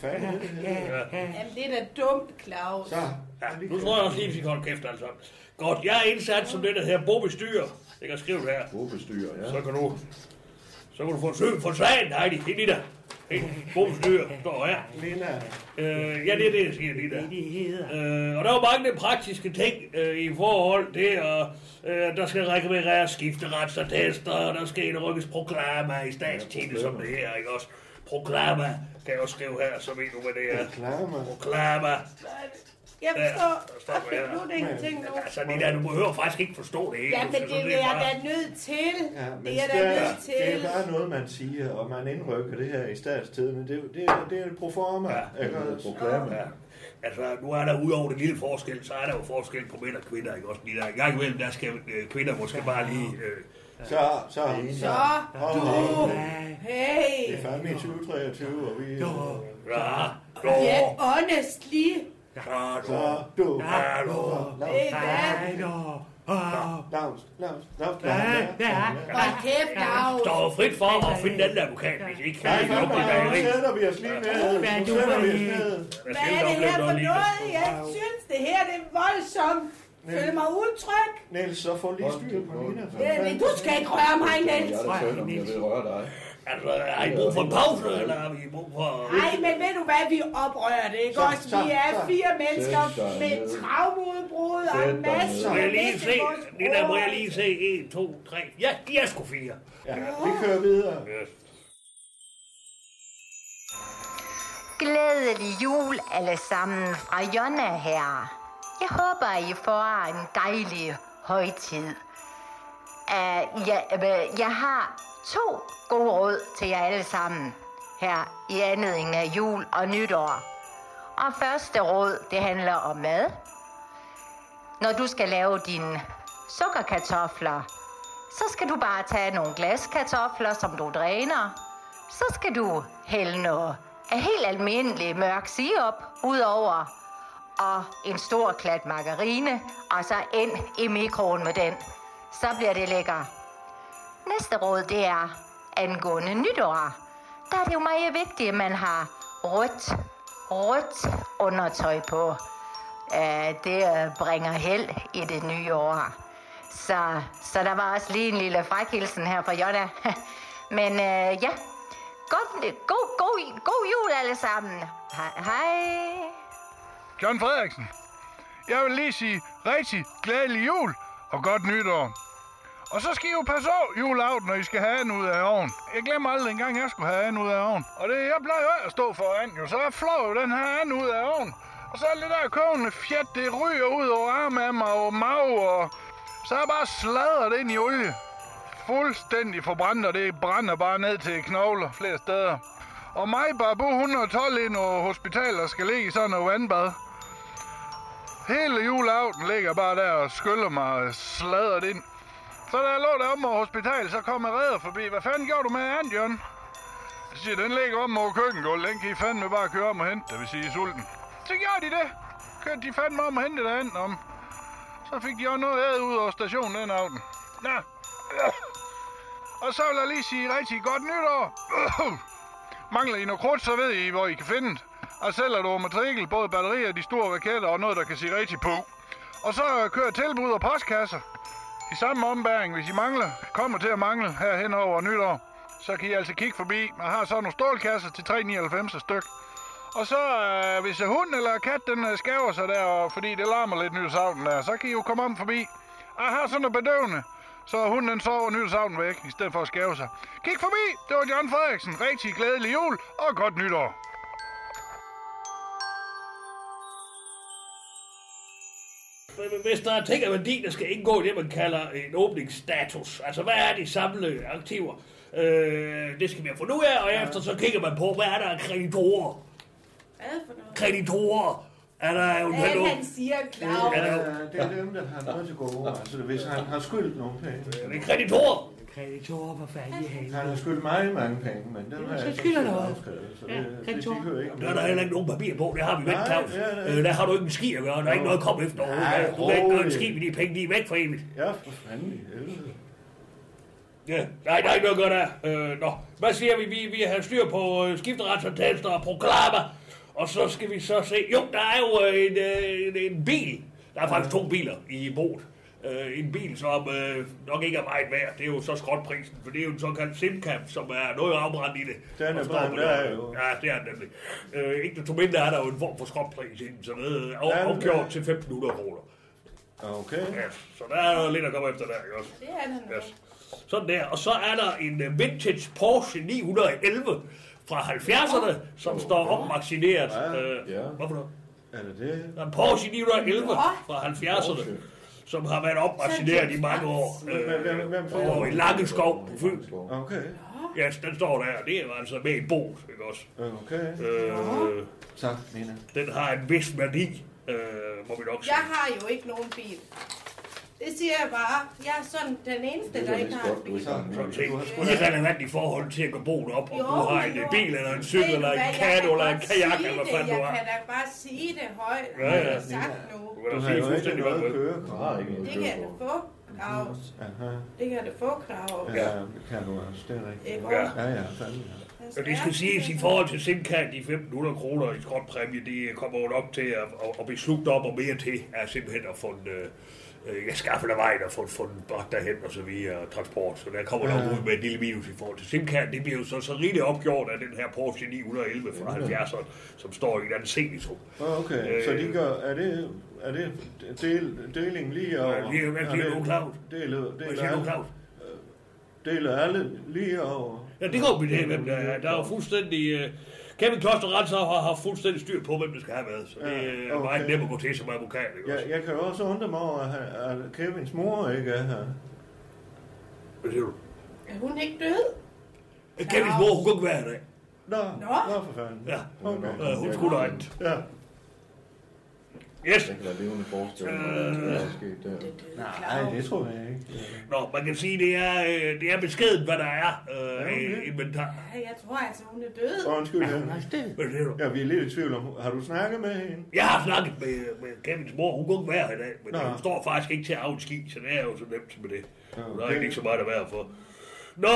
S2: fanden er det?
S8: Jamen, det er da dumt, Claus.
S2: Ja.
S7: ja, nu tror jeg også lige, at vi skal holde kæft, altså. Godt, jeg er indsat som det, der hedder bobestyrer. Jeg kan skrive det her.
S2: Bobestyrer, ja.
S7: Så kan du, så kan du få søg for sagen, Heidi. Det er Nina. God styr, står her.
S2: Nina,
S7: Øh, ja, det er det, jeg siger, Nina.
S9: Det hedder.
S7: Øh, og der er jo mange praktiske ting øh, i forhold til, og øh, der skal rekvireres skifteretsattester, og der skal indrykkes proklamer i statstidende, som det her, ikke også? Proklamer kan jeg også skrive her, så ved du, hvad det er.
S2: klarer mig.
S7: Proklamer.
S8: Jeg
S7: der
S8: forstår
S7: står vi her.
S8: absolut ingenting nu.
S7: Altså, Nina, du behøver faktisk ikke forstå det. Ikke?
S8: Ja, men det er jeg da nødt til.
S2: Ja, men
S8: Det er jeg da nødt
S2: det er
S8: til.
S2: bare noget, man siger, og man indrykker det her i statstiden. Det, er- det, er- det er en proforma. Ja, ikke også?
S7: Ja. Altså, nu er der udover det lille forskel, så er der jo forskel på mænd og kvinder, ikke også? Nina? En gang imellem, der skal øh, kvinder måske bare lige øh,
S2: Så, så.
S8: Så,
S2: Hold
S8: du,
S2: da op.
S8: hey,
S2: Det er fandme i 2023, og vi...
S8: yeah, honestly,
S2: Så, du.
S8: det er hvad?
S2: Lavs, lavs, lavs,
S8: Hold kæft, Claus.
S7: Står frit for at finde den der advokat, hvis I ikke kan.
S2: Nej,
S7: I
S2: fandme,
S7: lukker
S2: nu
S7: bageri.
S2: sætter vi os lige ned.
S7: Hvad er
S2: Nu
S7: du
S2: sætter
S7: for
S2: vi os
S7: en?
S2: ned.
S7: Jeg
S8: Hvad
S7: skal
S8: er det
S7: nok lave
S8: her for
S7: lige.
S8: noget? Jeg synes, det her det er voldsomt. Føler mig utryg.
S2: Niels, så få lige styr på Nina. for
S8: Det-
S2: fanden.
S8: det- Du skal ikke røre mig, Niels.
S7: Prøv at høre, Niels.
S11: Altså, har I brug for en pause, eller har I brug for...
S8: Nej, men ved du hvad, vi oprører det, ikke
S2: Så,
S8: også?
S2: så,
S8: Vi er
S2: så.
S8: fire mennesker
S12: Sæt dig
S8: med
S12: ned.
S8: travmudbrud og
S12: Sæt
S8: en
S12: dig
S8: masse...
S12: ned.
S11: Må jeg lige se?
S8: Vestegårds-
S11: Det der må jeg lige se. 1, 2, 3. Ja, de er sgu fire.
S2: Ja, vi kører videre.
S12: Glædelig jul alle sammen fra Jonna her. Jeg håber, I får en dejlig højtid. Uh, jeg, øh, jeg har to gode råd til jer alle sammen her i anledning af jul og nytår. Og første råd, det handler om mad. Når du skal lave dine sukkerkartofler, så skal du bare tage nogle glaskartofler, som du dræner. Så skal du hælde noget af helt almindelig mørk sirup ud over og en stor klat margarine, og så ind i mikroen med den. Så bliver det lækker. Næste råd, det er angående nytår. Der er det jo meget vigtigt, at man har rødt, rødt undertøj på. Øh, det øh, bringer held i det nye år. Så, så der var også lige en lille frækhilsen her fra Jonna. Men øh, ja, god, øh, god, god, god jul alle sammen. Hej. hej.
S11: John Frederiksen. Jeg vil lige sige rigtig glædelig jul og godt nytår. Og så skal I jo passe over juleaften, når I skal have en ud af ovnen. Jeg glemmer aldrig engang, jeg skulle have en ud af ovnen. Og det, jeg plejer jo ikke at stå foran, jo, så jeg flår jo den her anden ud af ovnen. Og så er det der kogende fjat, det ryger ud over armen af mig og mave, og så er jeg bare sladret ind i olie. Fuldstændig forbrændt, og det brænder bare ned til knogler flere steder. Og mig bare bo 112 ind over hospitalet og skal ligge i sådan noget vandbad. Hele juleaften ligger jeg bare der og skyller mig og sladret ind. Så da jeg lå deromme over hospitalet, så kom jeg redder forbi. Hvad fanden gjorde du med Ant, Jørgen? Jeg siger, den ligger om over køkkengulvet. Den kan I fandme bare køre om og hente, det vil sige I er sulten. Så gjorde de det. Kørte de fandme om og hentede den om. Så fik de også noget ad ud over stationen den aften. Nå. Og så vil jeg lige sige rigtig godt nytår. Mangler I noget krudt, så ved I, hvor I kan finde det. Og sælger du matrikel, både batterier, de store raketter og noget, der kan sige rigtig på. Og så øh, kører tilbud og postkasser. I samme ombæring, hvis I mangler, kommer til at mangle her hen over nytår, så kan I altså kigge forbi. Man har så nogle stålkasser til 3,99 styk. Og så, øh, hvis øh, hunden eller kat, den øh, skæver sig der, og fordi det larmer lidt nytårsaften der, så kan I jo komme om forbi. Jeg har sådan noget bedøvende, så hunden den sover nytårsaften væk, i stedet for at skæve sig. Kig forbi, det var John Frederiksen. Rigtig glædelig jul, og godt nytår.
S7: Hvis der er ting af værdi, der skal indgå i det, man kalder en åbningsstatus, altså hvad er de samlede aktiver, øh, det skal vi have fundet ud af, og efter så kigger man på, hvad er der af kreditorer?
S8: Hvad for noget?
S7: Kreditorer! Er der jo
S8: Alt han siger, Claus.
S7: Ja,
S2: Det
S7: ja.
S2: er, øh, det er dem, der har noget til gode. Altså, hvis han har skyldt nogle penge.
S7: Det er kreditorer! Kreditorer, hvor fanden i halen.
S2: Han har skyldt mig mange penge, men den
S7: Ja,
S2: har
S7: så
S2: jeg ikke
S7: skylder noget.
S2: afskrevet. Så det,
S7: Ja,
S2: det, det,
S7: rigtig
S2: de hører ikke
S11: Der er der heller ikke nogen papir på, det har vi
S2: Nej,
S11: væk, Claus.
S2: ja, det er-
S11: Øh, der har du ikke en skid at gøre, der er ikke noget at komme efter
S2: Nej,
S11: overhovedet. Du kan ikke gøre en
S2: rolig.
S11: skid med de penge, de er væk for evigt.
S2: Ja, for fanden i helvede.
S7: Ja, nej, der er ikke noget godt af. Øh, nå, hvad siger vi? Vi, vi har styr på øh, skifteretsfortælster og proklamer. Og så skal vi så se... Jo, der er jo øh, en, øh, en, en bil. Der er faktisk to biler i boet. Øh, en bil, som øh, nok ikke er meget værd. Det er jo så skrotprisen, for det er jo en såkaldt simcap, som er noget afbrændt i det.
S2: Den er
S7: Og står
S2: brændt
S7: på det.
S2: af, jo.
S7: Ja, det er den nemlig. Øh, ikke desto mindre er der jo en form for skrotpris i den, så ved øh,
S2: Ja,
S7: op-
S2: men-
S7: opgjort til 1.500 kroner.
S2: Okay.
S7: Ja, så der er noget lidt at komme efter der, ikke også?
S8: Det er han nu.
S7: Yes. Sådan der. Og så er der en øh, vintage Porsche 911 fra 70'erne, som står opmagasineret.
S2: Ja,
S7: Øh,
S12: ja.
S7: Hvorfor noget?
S2: Er det det?
S7: Der er en Porsche 911
S8: Nå.
S7: fra 70'erne,
S12: Porsche.
S7: som har været opmagasineret i mange år.
S2: Hvem- hvem- hvem
S7: Øh,
S2: får
S7: og i Langeskov på Fyn.
S2: Okay.
S7: Ja, yes, den står der. Det er jo altså med i bog, ikke også?
S2: Okay.
S7: Øh,
S2: Tak, Nina.
S7: den har en vis værdi, øh, må vi nok sige.
S8: Jeg har jo ikke nogen bil. Det siger jeg bare. Jeg er sådan den eneste, der ikke har en bil.
S7: Sådan set irrelevant i forhold til at gå boet op, om
S8: Jo,
S7: du har en
S8: jo.
S7: bil, eller en
S8: Ved
S7: cykel,
S8: du
S7: eller
S8: hvad,
S7: en
S8: jeg
S7: kat,
S8: kan
S7: eller en
S8: godt
S7: kajak,
S8: sige
S7: eller hvad
S8: det.
S7: fanden du
S8: Jeg
S7: har.
S8: kan da bare sige det højt,
S7: Ja,
S8: ja,
S7: ja.
S8: ja. jeg sagt nu.
S7: Du kan da
S2: Du har
S7: sige
S2: jo ikke
S7: fuldstændig,
S2: noget
S7: hvad du vil.
S2: kørekort. Du har ikke noget
S8: Det kan jeg da få, Claus.
S2: Aha.
S8: Det kan jeg da få, Claus.
S2: Ja, det kan du også. Det er rigtigt.
S8: Ikke
S7: også?
S2: Ja, ja, fandme.
S7: Og det skal siges i forhold til Simcat, de 1.500 kroner i skrotpræmie, de kommer jo nok til at, at, at blive slugt op og mere til, er simpelthen at få en, øh, øh, jeg skaffer dig vejen og få, få den bort derhen og så videre, og transport. Så der kommer nok ud med et lille minus i forhold til Simcat. Det bliver jo så, så rigeligt opgjort af den her Porsche 911 fra 70'erne, som står i en anden senitum.
S2: Åh, Ah, Okay, så
S7: Øh,
S2: de gør, er det, er det del, deling lige over?
S7: Ja, lige- hvad
S2: er
S7: siger
S2: det-
S7: du, Claus?
S2: Deler, deler,
S7: siger du,
S2: alle,
S7: Claus?
S2: øh, deler alle lige over?
S7: Ja, det går vi det, hvem der er. Der er jo fuldstændig... Øh, Kevin Kloster Renser har haft fuldstændig styr på, hvem det skal have været, så det
S2: Ja,
S7: øh, er
S2: okay.
S7: meget nemt at gå til som advokat. Ikke?
S2: Ja, jeg kan jo også undre mig over, at han- at Kevins mor ikke er her.
S7: Hvad siger du?
S8: Er hun ikke død?
S7: Kevins mor, hun kunne ikke være her i dag.
S2: Nå,
S8: Nå.
S2: nå for fanden.
S7: Ja,
S2: Okay.
S7: øh, hun skulle da andet.
S2: Ja.
S7: Yes. Øh.
S13: Jeg kan da levende forestille mig, hvad der er sket der.
S2: Nej, det tror jeg ikke.
S7: Nå, man kan sige, det er, øh, det er beskeden, hvad der er øh,
S2: okay.
S7: i inventar.
S8: Ja, jeg tror altså, hun er død.
S2: Åh, Undskyld,
S7: Hvad siger du?
S2: ja. ja, vi er lidt i tvivl om, har du snakket med hende?
S7: Jeg har snakket med, med Kevins mor, hun kunne ikke være her i dag, men
S2: Nå.
S7: hun står faktisk ikke til at arve ski, så det er jo så nemt med det. Hun har
S2: okay.
S7: ikke lige så meget at være for. Nå,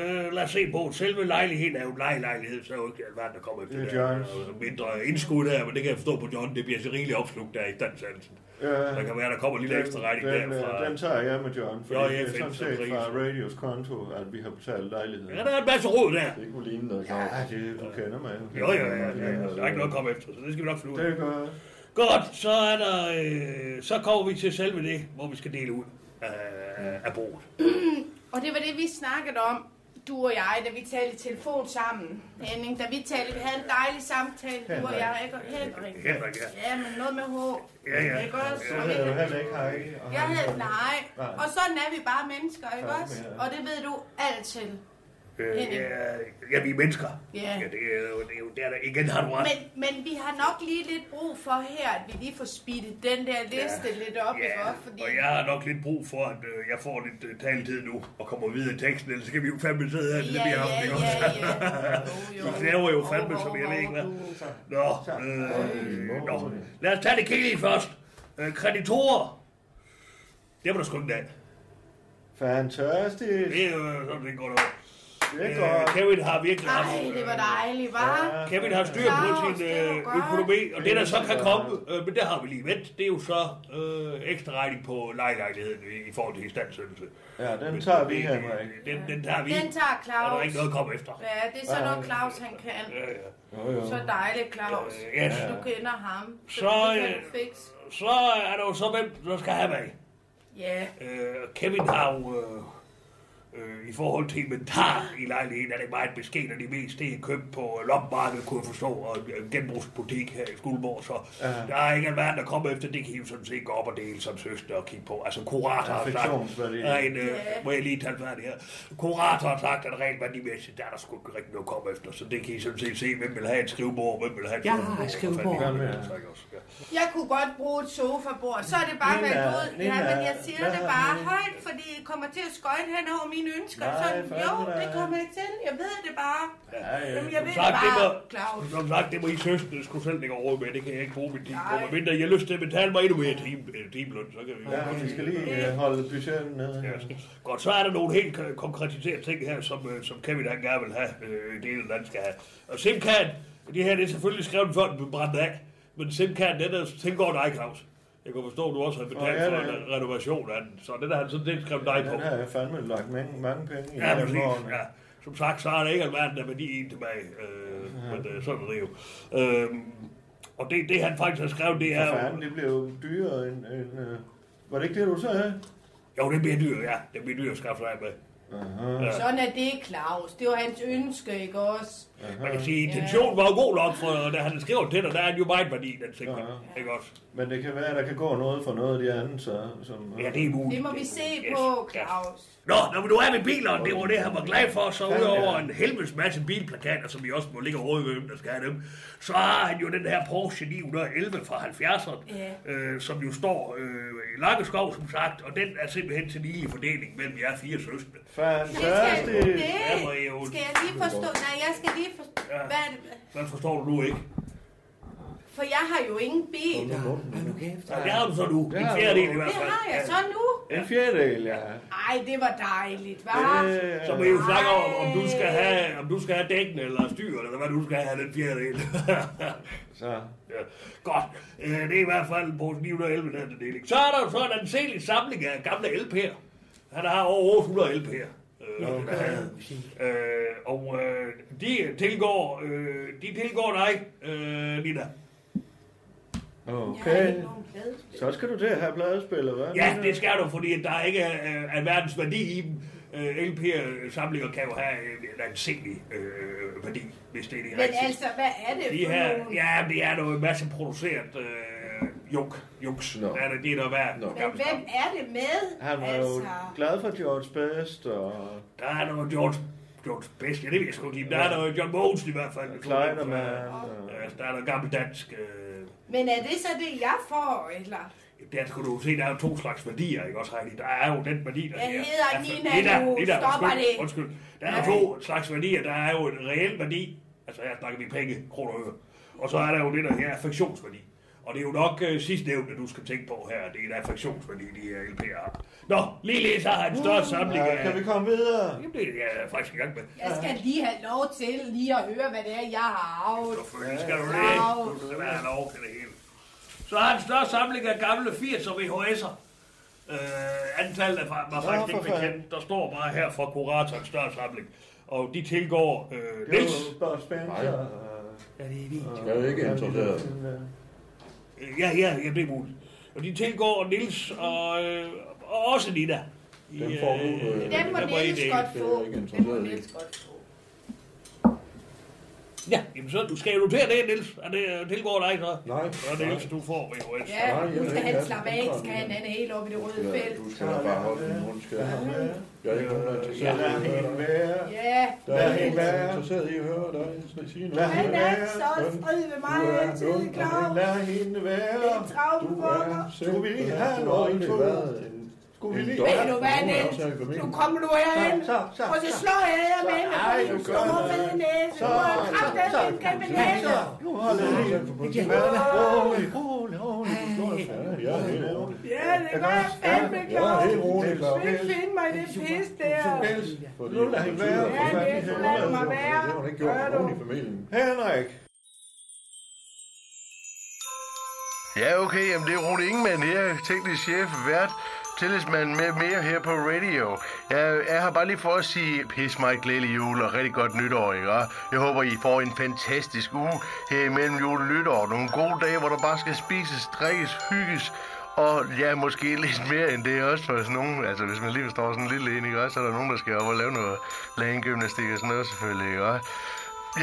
S7: øh, lad os se på. Selve lejligheden er jo en lejelejlighed, så er jo ikke alverden, der kommer efter
S2: Det er
S7: der.
S2: Johns.
S7: Og Mindre indskud der, men det kan jeg forstå på John, det bliver så rigeligt opslugt der i standsansen.
S2: Ja.
S7: Der kan være, der kommer en lille
S2: Den-
S7: ekstra regning
S2: den,
S7: derfra.
S2: øh, Den tager jeg med John, for
S7: Jo,
S2: det
S7: jeg
S2: er sådan
S7: finder
S2: set
S7: prisen.
S2: fra Radios konto, at vi har betalt lejligheden.
S7: Ja, der er en masse rod der.
S13: Det kunne ligne noget, Claus.
S2: Ja, det, du kender mig.
S7: Jo, jo, ja, ja, ja. Der er ikke noget at komme efter, så det skal vi nok finde ud af.
S2: Det gør jeg.
S7: Godt, så, er der, øh, så kommer vi til selve det, hvor vi skal dele ud af, af bordet.
S8: Og det var det, vi snakkede om, du og jeg, da vi talte i telefon sammen, Henning. Da vi talte, vi havde en dejlig samtale, du og jeg, ikke? Og Henrik.
S7: Henrik, ja.
S8: Ja, men noget med H.
S7: Ja, ja.
S8: Ikke også?
S2: Så hedder du heller ikke Heidi. og
S8: Jeg
S2: han
S8: hed,
S2: hedder-
S8: nej.
S2: Nej.
S8: Og sådan er vi bare mennesker, ikke
S2: Sådan,
S8: også?
S2: ja.
S8: Og det ved du altid.
S7: Øh,
S8: Henning.
S7: ja, ja, vi er mennesker.
S8: Ja.
S7: Ja, det er jo, det er jo der, der igen har du ret.
S8: Men, men vi har nok lige lidt brug for her, at vi lige får speedet den der liste lidt op, ikke
S7: Ja,
S8: også? Fordi
S7: og jeg har nok lidt brug for, at øh, jeg får lidt øh, taletid nu og kommer videre i teksten, ellers skal vi jo fandme sidde her,
S8: Ja,
S7: til det
S8: ja,
S7: bliver aften,
S8: ja,
S7: ikke også?
S8: ja.
S7: Vi knæver jo fandme, som jeg ved ikke hvad. Nå, øh, nå. Lad os tage det kedelige først. Øh, kreditorer. Det var der sgu ikke af.
S2: Fantastisk.
S7: Det er jo sådan, det går derovre.
S2: Det er
S7: Øh,
S2: godt.
S7: Kevin har virkelig haft...
S8: Ej, det var dejligt, var.
S7: Kevin har styr på
S8: Claus,
S7: sin
S8: det var
S7: øh,
S8: godt.
S7: økonomi, og det der så kan komme, øh, men det har vi lige vendt, det er jo så øh, ekstra regning på lejelejligheden i, i forhold til istandsættelse.
S2: Ja, den
S7: Men
S2: tager vi,
S7: det-
S2: Henrik.
S7: Den, den tager vi,
S8: Den tager
S7: og der er
S8: Claus.
S7: ikke noget at komme efter.
S8: Ja, det er sådan noget, Claus han kan.
S7: Ja, ja.
S13: Jo, jo.
S8: Så dejligt, Claus.
S7: Ja, ja.
S8: Du kender ham.
S7: Så,
S8: det kan
S7: øh,
S8: du fikse.
S7: Så er der jo så hvem, der skal have mig.
S8: Ja,
S7: Øh, Kevin har jo, øh, øh, i forhold til inventar i lejligheden, er det meget beskeden, og det meste det er købt på lopmarkedet, kunne jeg forstå, og en genbrugsbutik her i Skuldborg, så der er ikke alverden, der kommer efter, det kan I jo sådan set gå op og dele som søster og kigge på. Altså, kurator har sagt,
S2: Affektionsværdi.
S7: er en, øh,
S8: Ja.
S7: må jeg lige tage færdig her, kurator har sagt, at rent værdimæssigt, der er der sgu ikke rigtig noget at komme efter, så det kan I sådan set se, hvem vil have et skrivebord, hvem vil have et
S1: Jeg har
S7: skrivebord.
S1: et skrivebord.
S7: og fanden, det er det også, ja.
S8: jeg kunne godt bruge et sofabord. Så er det bare
S2: Nina,
S8: valgt ud. Ja,
S2: Nina,
S8: men jeg siger
S2: hvad
S8: det
S2: har
S8: bare
S2: du?
S8: højt, fordi I kommer til at skøjte hen over mine ønsker.
S2: Nej,
S8: Sådan, jo,
S2: fandme da.
S8: det kommer jeg til. Jeg ved det bare. Jamen, jeg ved
S7: Som
S8: det
S7: sagt, det
S8: bare, Claus.
S7: må, som sagt, det må I søskende skulle selv ikke overhovedet med. Det kan jeg ikke bruge min tid på.
S8: Nej.
S7: Men mindre I har lyst til at betale mig endnu mere time, øh, timeløn, så kan vi
S2: Ja, vi skal lige øh, holde budgettet nede.
S7: Ja, skal- Godt, så er der nogle helt øh, konkretiserede ting her, som, øh, som Kevin han gerne vil have, øh, det hele land skal have. Og Simkan, det her det er selvfølgelig skrevet før den blev brændt af, men Simkan, den er tilgår dig, Claus. Jeg kan forstå, at du også har betalt
S2: Åh, ja,
S7: for
S2: ja.
S7: en renovation af den, så den har han sådan set skrevet dig på.
S2: Den har jeg fandme lagt mange, mange penge i.
S7: Ja,
S2: den
S7: præcis.
S2: morgen.
S7: Ja. Som sagt, så er der ikke alverden der værdi i en tilbage. Øh, Men øh, sådan er det jo. Øh, og det, det han faktisk har skrevet, det
S2: For
S7: er jo...
S2: fanden, det blev jo dyrere end... end øh, var det ikke det, du sagde?
S7: Jo, det bliver dyrt, ja. Det bliver dyrt at skaffe sig af med.
S13: Aha.
S8: Sådan er det, Claus. Det var hans ønske, ikke også?
S7: Man kan sige, intentionen var jo god nok, for da han skrev til dig, der er han jo meget værdi, den sikring. Ikke også?
S2: Men det kan være, at der kan gå noget fra noget af de andre, så... Som,
S7: Ja, det er muligt.
S8: Det må vi se på, Claus.
S7: Nå, når vi nu er ved bilerne, det var det, han var glad for, så udover en helvedes masse bilplakater, som vi også må ligge og råde ved, hvem der skal have dem, så har han jo den her Porsche 911 fra 70'erne,
S8: Ja.
S7: øh, som jo står øh, i Langeskov, som sagt, og den er simpelthen til lige fordeling mellem jer fire søskende.
S8: Det skal,
S7: Ja, hvor er jeg jo-
S8: det skal jeg lige forstå. Nej, jeg skal lige forstå.
S7: Ja.
S8: Hvad,
S7: Hvad forstår du nu ikke?
S8: for jeg har jo ingen bil.
S7: Ja, det har du så nu.
S2: Det
S7: En
S2: har du.
S7: fjerdedel i hvert
S8: Det
S7: fald.
S8: har jeg så nu.
S2: En fjerdedel, ja.
S8: Ej, det var dejligt, hva'?
S7: Øh, Så må I jo snakke om, om du skal have, om du skal have dækken eller styr, eller hvad du skal have den fjerdedel.
S2: så.
S7: Ja. Godt. Øh, Det er i hvert fald på 911 den her deling. Så er der jo så en anselig samling af gamle LP'er. Han har over 800 LP'er. Øh, øh, og øh, de tilgår, øh, de tilgår dig, øh, Nina.
S2: Okay. Så skal du til at have pladespiller, hvad?
S7: Ja, det skal du, fordi der ikke er, er verdens værdi i dem. Øh, LP'er-samlinger kan jo have en, en anselig øh, værdi, hvis det er det
S8: Men altså, hvad er det
S7: De
S8: for
S7: her,
S8: nogen?
S7: ja, det er noget masse produceret øh, juk, juks. No. Er det, det er der værd. No.
S8: Men hvem er det med? Altså,
S2: Han var jo glad for George Best, og...
S7: Der er noget George, George Best, ja, det ved jeg sgu ikke. lide. Der er noget John Mogensen i hvert fald.
S2: Kleinerman,
S7: Ja, altså, der er noget gammel dansk. Øh,
S8: Men er det så det, jeg får, eller?
S7: der skulle du jo se, der er jo to slags værdier, ikke også, Heidi? Der er jo den værdi, der
S8: Jeg
S7: er-
S8: hedder
S7: altså,
S8: Nina
S7: Nina,
S8: nu.
S7: Nina,
S8: Stopper
S7: undskyld,
S8: det.
S7: Undskyld. Der er jo to slags værdier. Der er jo en reel værdi. Altså her snakker vi penge, kroner og øre. Og så er der jo det, der her affektionsværdi. Og det er jo nok øh, sidstnævnte, du skal tænke på her. Det er en affektionsværdi, de her LP'er har. Nå, ligeledes har han en
S8: Uh.
S7: større samling
S2: Uh. Ja,
S7: af...
S2: kan vi komme videre?
S7: Jamen, det er jeg faktisk i gang med.
S8: Jeg skal lige have lov til lige at høre, hvad det er, jeg har arvet.
S7: Selvfølgelig skal du det. Du skal være lov til det hele. Så har han en større samling af gamle 80'er VHS'er. Øh, antallet er fa- var
S2: Nå,
S7: faktisk
S2: for
S7: ikke
S2: fanden.
S7: bekendt. Der står bare her for kurator en større samling. Og de tilgår øh,
S2: Det er
S7: Niels.
S2: jo Bud Spencer. og-
S13: Jeg er jo ikke interesseret.
S7: Øh, Ja, ja, ja, det er muligt. Og de tilgår Niels og, øh, og også Nina. I,
S13: Den får du, øh,
S8: Den må
S7: der var
S8: Niels
S7: en, øh,
S8: godt
S13: det er
S8: få.
S13: jeg ikke
S8: Den må
S13: interesseret i.
S8: Niels godt få.
S7: Ja, jamen så du skal jo notere det, Niels. Er det øh, tilgår dig så?
S13: Nej.
S7: Så Niels, du får VHS.
S8: Ja, nu skal han slappe af, skal han anden helt op i det røde
S13: Ja,
S8: felt.
S13: Du skal da bare holde din mund, skal jeg. Jeg er ikke nogen, der er
S2: Ja,
S13: interesseret i
S2: lad
S13: at høre
S2: hende
S13: dig.
S2: være.
S8: Ja,
S13: Der er
S2: Lad
S13: ikke
S2: hende
S13: nogen, der er
S2: være.
S13: interesseret i at høre dig sige noget.
S2: Lad
S8: han
S2: hende
S8: er
S2: være.
S8: så strid ved mig
S13: Du er
S8: hele tiden,
S13: dum.
S8: Claus.
S2: Lad hende
S8: Det er
S2: være.
S8: travlt
S13: Du
S8: for mig.
S13: er
S2: Skulle vi lige
S13: Du
S2: have
S13: har
S2: noget
S13: aldrig
S2: intro?
S13: været en...
S2: Skulle vi
S13: en
S2: lige
S13: dommer.
S8: Ved du hvad,
S13: Du er
S8: Niels?
S13: også her i familien.
S8: Nu kommer du herind,
S2: Så, så,
S8: og så slår jeg dig med
S2: Så, ej,
S8: en
S2: du gør
S8: stor
S2: det.
S8: fed næse.
S2: Så,
S8: Du har kraft af
S2: så,
S8: din kæmpe næse.
S2: Nu holder jeg lige. Rolig, rolig, rolig. Du slår dig fast.
S13: Ja, jeg er helt rolig.
S8: Ja, det gør jeg fandme,
S13: Jeg er
S8: Claus.
S13: helt rolig, Claus.
S8: Vil finde mig i det pis der.
S2: Niels,
S13: Fordi
S2: nu lad hende være.
S8: Ja, Niels, nu lad mig være.
S13: Det har hun ikke gjort
S8: Gør
S13: for nogen
S8: du?
S13: i familien.
S2: Henrik.
S14: Ja, okay, jamen det er Rune Ingemann her, teknisk chef, vært, tillidsmand med mere her på radio. Jeg er her bare lige for at sige pis mig glædelig jul og rigtig godt nytår, ikke? Og Jeg håber, I får en fantastisk uge her imellem jul og nytår. Nogle gode dage, hvor der bare skal spises, drikkes, hygges og ja, måske lidt mere end det også for sådan nogen. Altså, hvis man lige forstår sådan en lille en, ikke også? Så er der nogen, der skal op og lave noget lægengymnastik og sådan noget selvfølgelig, ikke også?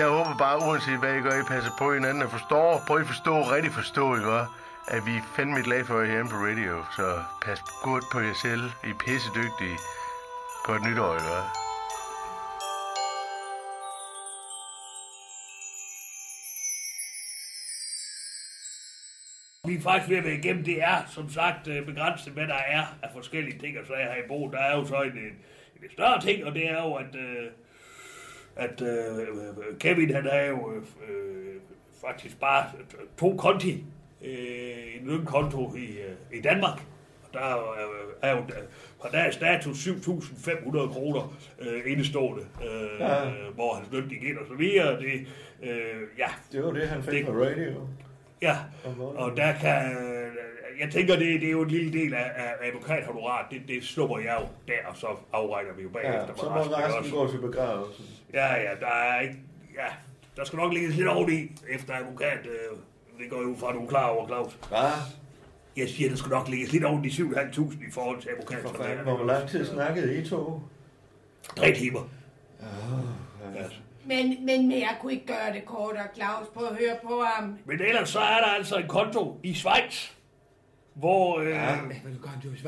S14: Jeg håber bare, uanset hvad I gør, I passer på hinanden og forstår. Prøv at forstå, rigtig forstå, ikke også? At vi er fandme glade for jer hjemme på radio. Så pas godt på jer selv. I er pissedygtige. Godt nytår, ikke også?
S7: Vi er faktisk ved at være igennem. Det er som sagt øh, begrænset, hvad der er af forskellige ting, og så er her i Bo. Der er jo så en, en, en større ting, og det er jo, at, øh, at øh, Kevin han har jo øh, øh, faktisk bare to konti. Øh, en lønkonto i, øh, i Danmark. Og Der er, jo- er jo fra der er status 7.500 kroner øh, indestående, øh,
S2: Ja.
S7: ja. hvor hans løn gik ind og så videre. Det, øh, ja,
S2: Det var det, han fik
S7: Det-
S2: på radio.
S7: Ja, og der kan... øh, Jeg tænker, det, det er jo en lille del af, af advokathonoraret. Det, det slupper jeg jo der, og så afregner vi jo bagefter.
S2: Ja,
S7: med
S2: så må resten
S7: også.
S2: gå til begravelsen.
S7: Ja, ja, der er ikke... Ja, der skal nok ligge lidt oveni efter advokat. Øh, det går jo fra, at du er klar over, Claus.
S2: Hvad?
S7: Jeg siger, der skal nok ligge lidt oveni 7.500 i forhold til advokat.
S2: For fanden, hvor lang tid snakkede I to?
S7: Tre timer.
S2: Ah,
S8: Men, men, men jeg kunne ikke gøre det kortere, Claus. Prøv at høre på ham.
S7: Men ellers så er der altså en konto i Schweiz, hvor... Øh, ja,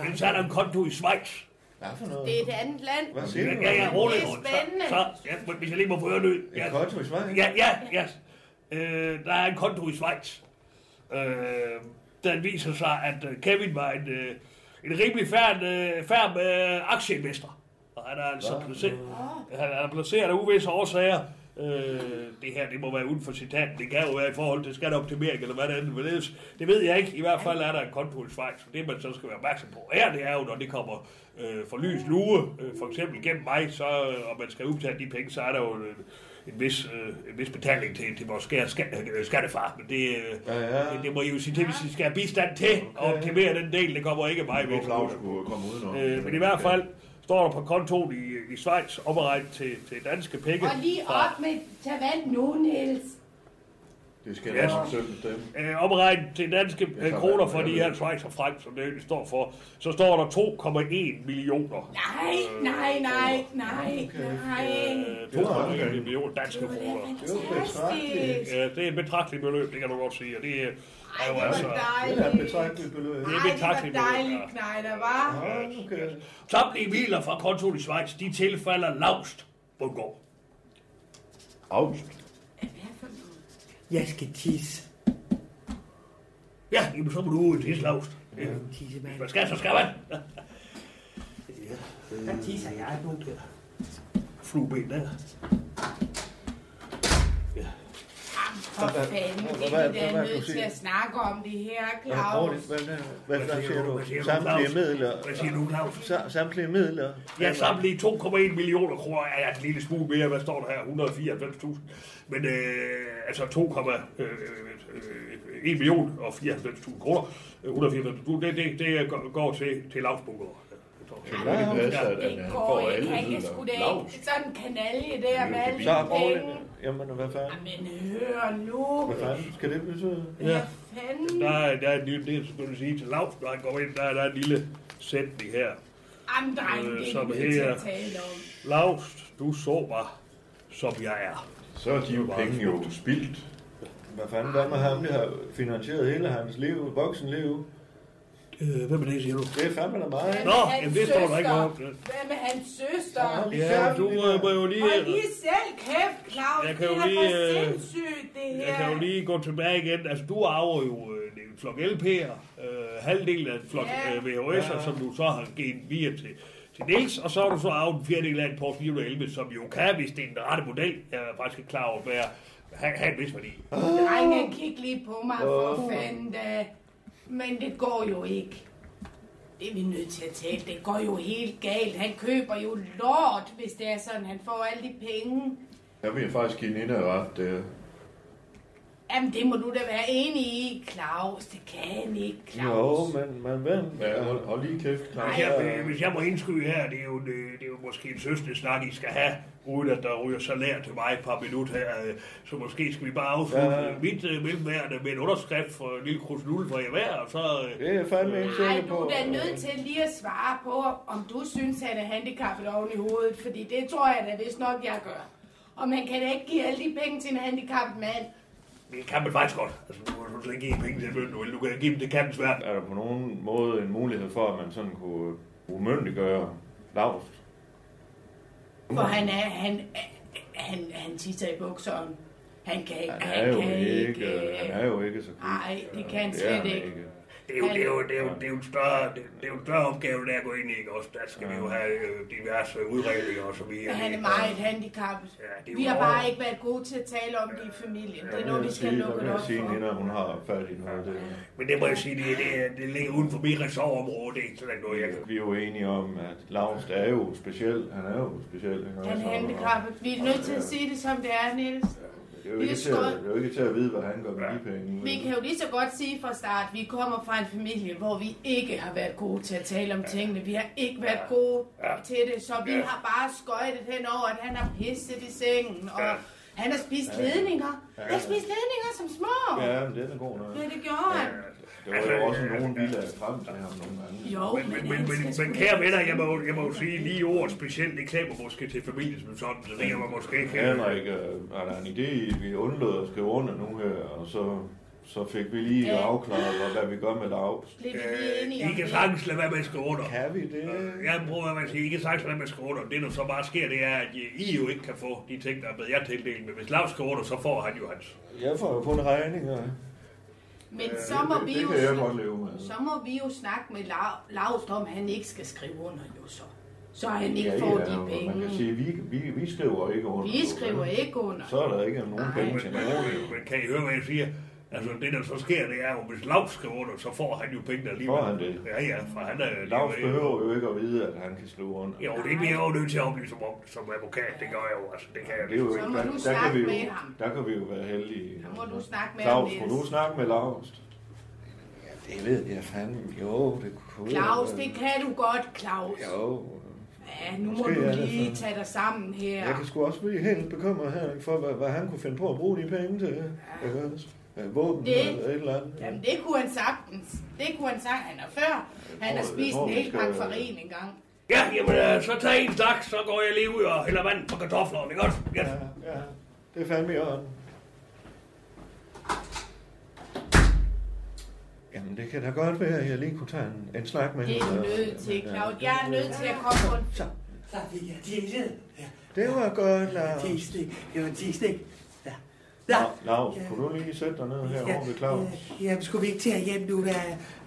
S7: Ellers er der en konto i Schweiz. Hvad for
S8: Det er et andet land.
S7: Hvad siger du? Ja, ja, rolig.
S8: Det er spændende.
S7: Så, så ja, men hvis jeg lige må få høre det. Ja. En konto i Schweiz? Ja, ja, ja. Øh, der er en konto i Schweiz. Øh, den viser sig, at øh, Kevin var en, øh, en rimelig færd, øh, færd øh, aktieinvestor. Og han er altså placeret, han er placeret af uvisse årsager. Øh, det her, det må være uden for citat. Det kan jo være i forhold til skatteoptimering, eller hvad det andet vil ledes. Det ved jeg ikke. I hvert fald er der en konto i Schweiz, og det man så skal være opmærksom på her, det er jo, når det kommer øh, for lys lue, øh, for eksempel gennem mig, så, øh, og man skal udbetale de penge, så er der jo en, en, vis, øh, en vis betaling til, til vores skat, skat, øh, skattefar. Men det, øh, ja, ja. det, det, må I jo sige til, hvis I skal have bistand til at optimere den del. Det kommer ikke af mig. ved. Øh, men i hvert fald står der på kontoen i, i Schweiz opregnet til, til danske penge.
S8: Og lige
S7: fra-
S8: op med, tag vand nu, Niels.
S13: Det skal
S7: Ja.
S13: jeg også selv bestemme.
S7: øh, omregnet til danske øh, kroner for de her Schweiz og frank, som det egentlig står for, så står der 2,1 millioner.
S8: Nej, nej, nej, nej, nej.
S7: Øh, 2,1 millioner danske kroner. Ja, det er et betragteligt beløb, det kan du godt sige. Og det er, er jo altså...
S8: dejligt. Det er et
S7: betragteligt beløb. Det er et
S8: Ej, det
S7: betragteligt
S8: var
S7: beløb,
S8: dejligt,
S7: ja.
S8: Knejder, var.
S7: Okay. Samtlige midler fra kontoen i Schweiz, de tilfalder Laust Bundgaard. August?
S15: Jeg skal tisse.
S7: Ja, jamen, så må du ud til Laust. Ja. Hvad skal, så skal man.
S15: Der tisser jeg nu, Peter.
S7: Flueben der.
S8: For fanden,
S15: Hvad-
S8: det
S15: hvad-
S8: er vi
S15: hvad-
S8: da
S15: hvad-
S8: nødt
S15: hvad-
S8: til at snakke om det her, Claus.
S2: Hvad, hvad, hvad, hvad
S7: siger
S2: siger
S7: du? Hvad siger du,
S2: du? Samtlige
S7: Claus?
S2: midler.
S7: Hvad siger du, Claus?
S2: Sa- Samtlige midler.
S7: Ja, samtlige 2,1 millioner kroner er en lille smule mere. Hvad står der her? 194.000. Men øh, altså 2,1 øh, øh, 1 million og 94.000 kroner. Øh, 194.000, det, det, det går- går til, til Laust Bundgaard.
S13: Ja, det passer, at
S8: Det går ikke, han kan sgu da ikke. Sådan en kanalje der med alle
S2: Så
S8: de
S2: roligt.
S8: penge.
S2: Jamen, hvad fanden?
S8: Men hør nu.
S2: Hvad fanden skal det betyde?
S7: Ja.
S8: Fanden.
S7: Der er, der er en lille, det skulle jeg sige til Laust, når han går ind, der er der er en lille sætning her.
S8: Jamen, drenge,
S7: Øh,
S8: det er
S7: som
S8: ikke til
S7: her.
S8: at tale om.
S7: Laust, du så mig, som jeg er.
S13: Så er de jo penge jo spildt.
S2: Hvad fanden, hvad med ham, der har finansieret hele hans liv, voksenliv?
S7: Øh, hvad med det, siger du?
S2: Det er fandme da meget.
S8: Hvad med hans søster? Hvad med hans søster?
S7: Ja, du øh, må jo lige...
S8: Og lige selv kæft, Claus.
S7: Jeg kan jo
S8: det er da
S7: lige,
S8: for
S7: øh,
S8: sindssygt, det her.
S7: Jeg kan jo lige gå tilbage igen. Altså, du arver jo øh, en flok LP'er, øh, halvdelen af en flok
S8: Ja.
S7: øh, VHS'er,
S8: Ja.
S7: som du så har givet via til, til Niels, og så har du så arvet en fjerdedel af en Porsche 911, som jo kan, hvis det er den rette model, jeg er faktisk ikke klar over, hvad have, have en vis værdi.
S8: Drenge, kig lige på mig for
S7: Åh.
S8: fanden da. Men det går jo ikke. Det er vi nødt til at tale. Det går jo helt galt. Han køber jo lort, hvis det er sådan. Han får alle de penge.
S13: Jeg vil faktisk give Nina ret. Det,
S8: Jamen, det må du da være enig i, Claus. Det kan han ikke, Claus.
S2: Jo, men, men hvem?
S13: Ja, hold, hold lige kæft,
S7: Nej, jeg, hvis jeg må indskyde her, det er jo, en, øh, det er jo måske en søstende snak, I skal have, uden at der ryger salær til mig et par minutter her. øh, Så måske skal vi bare afslutte
S2: Ja,
S7: ja,
S2: ja.
S7: ja. mit øh, mellemværende med en underskrift for en lille krusnulle for jer hver, og så... øh,
S2: Det er fandme ikke
S8: Nej,
S2: sikker
S8: du
S2: på. øh.
S8: er da nødt til lige at svare på, om du synes, han er handicappet oven i hovedet. Fordi det tror jeg da vist nok, jeg gør. Og man kan da ikke give alle de penge til en handicappet mand.
S7: Det kan man faktisk godt. Altså, du kan du ikke give penge til løn, du kan give dem det kan svært.
S2: Er der på nogen måde en mulighed for, at man sådan kunne umyndiggøre Laust?
S8: For
S2: Mm.
S8: han er, han, han, han tisser i bukserne. Han kan ikke,
S2: Han er jo
S8: kan
S2: ikke, øh, han er jo ikke så
S8: Nej, det kan han slet ikke.
S7: Det er jo, det er jo, det er jo, det er jo en større, det, det er jo en større opgave, der at gå ind i, ikke også? Der skal vi jo have øh, diverse udredninger og så videre.
S8: Men han er meget handicappet.
S7: det er
S8: Vi
S7: jo
S8: har
S7: over.
S8: bare ikke været gode til at tale om det i familien. Det er noget, vi skal lukke det op
S2: sige,
S8: for.
S2: Nina, hun har fat i noget. Det.
S7: Men det må jeg sige, det, det, det ligger uden for mit ressortområde, det er ikke sådan noget, jeg kan...
S2: Vi er jo enige om, at Laust er jo speciel. Han er jo speciel. ikke?
S8: Han er
S2: Så-
S8: handicappet. Vi er nødt til at sige det, som det er, Niels.
S2: Det er jo
S8: Vi er
S2: ikke til,
S8: skod-
S2: at- det er jo ikke til at vide, hvad han gør med de penge.
S8: Vi kan jo lige så godt sige fra start, at vi kommer fra en familie, hvor vi ikke har været gode til at tale om tingene. Vi har ikke været gode til det, så vi
S7: Ja.
S8: har bare skøjtet hen over, at han har pisset i sengen, og Han har spist
S2: Ja.
S8: ledninger.
S2: Ja.
S8: Jeg har spist ledninger som små.
S2: Ja, men den er god nok.
S8: Ja, det gjorde han.
S2: Der var jo også nogle biler, der frem til ham nogle gange.
S8: Jo,
S7: men, men, men, men, men kære venner, jeg må, jeg må jo sige lige ord specielt. Det klemmer måske til familien som sådan, så det kan man måske ikke. øh,
S2: Henrik, øh, er der en idé, vi undlod at skrive under nu her, og så, så fik vi lige
S8: Ja.
S2: afklaret, hvad- hvad vi gør med Laubs.
S8: Blev vi lige enige om
S7: I kan
S8: det?
S7: sagtens lade være med at skrive under.
S2: Kan vi det?
S7: Jeg prøver at man siger, I kan sagtens lade være med at skrive under. Det, der så bare sker, det er, at I jo ikke kan få de ting, der er blevet jer tildelt. Men hvis Lars skriver under, så får han jo hans.
S2: Jeg får jo kun regninger.
S8: Men
S2: Øh,
S8: så må
S2: det-
S8: vi
S2: det
S8: jo
S2: kan jeg
S8: sn-
S2: godt leve med. altså.
S8: Så må vi jo snakke med Lav- Laust om, at han ikke skal skrive under jo så. Så han ikke
S2: Ja,
S8: får
S2: ja,
S8: de
S2: og Man
S8: penge.
S2: kan sige, vi, vi, vi skriver ikke under.
S8: Vi skriver ikke under.
S2: Så er der ikke nogen penge til nogen.
S7: Men kan I høre, hvad jeg siger? Altså, det der så sker, det er jo, hvis Lars skriver under, så får han jo pengene alligevel.
S2: Får han det?
S7: Ja, ja, for han er alligevel-
S2: Laubs behøver jo ikke at vide, at han kan skrive under.
S7: Jo, det bliver jeg jo nødt til at oplyse om som advokat. Det gør jeg jo, altså. Det kan jeg
S2: Det er jo
S7: ikke.
S2: ikke, der, der, kan vi jo, der kan vi jo være heldige.
S8: Må du snakke med ham,
S2: Claus,
S8: Niels?
S2: kunne du snakke med Laust? Ja, det ved jeg fandme. Jo, det kunne
S8: Claus,
S2: jeg.
S8: det kan du godt, Claus.
S2: Jo,
S8: Ja, nu må
S2: Måske er
S8: du
S2: det
S8: lige
S2: sådan.
S8: tage dig sammen her.
S2: jeg kan sgu også blive helt bekymret her for, hvad, hvad han kunne finde på at bruge de penge til. Ikke også? Ja. Våben
S8: Det-
S2: eller et eller andet.
S8: Jamen, det kunne han sagtens. Det kunne han sagtens. Han er før. Han har
S2: tror, jeg
S8: spist
S2: tror,
S8: en
S2: vi
S8: hel
S2: skal-
S8: pakke farin en gang.
S7: Ja, jamen, øh, så tag en stak, så går jeg lige ud og hælder vand på kartoflerne, ikke også? Yes.
S2: Ja, det er fandme i orden. Jamen, det kan da godt være, at jeg lige kunne tage en, en snak med
S8: Det er
S2: hende.
S8: du nødt til, Claus. Jeg er nødt til at komme rundt.
S2: Så,
S6: så fik jeg tisset.
S2: Det var godt, Lars.
S6: Tistik. Det var tistik. Ja.
S2: Ja. Lars, kunne du lige sætte dig ned herovre ved Claus?
S6: Jamen, skulle vi ikke til at hjem nu? Hvad,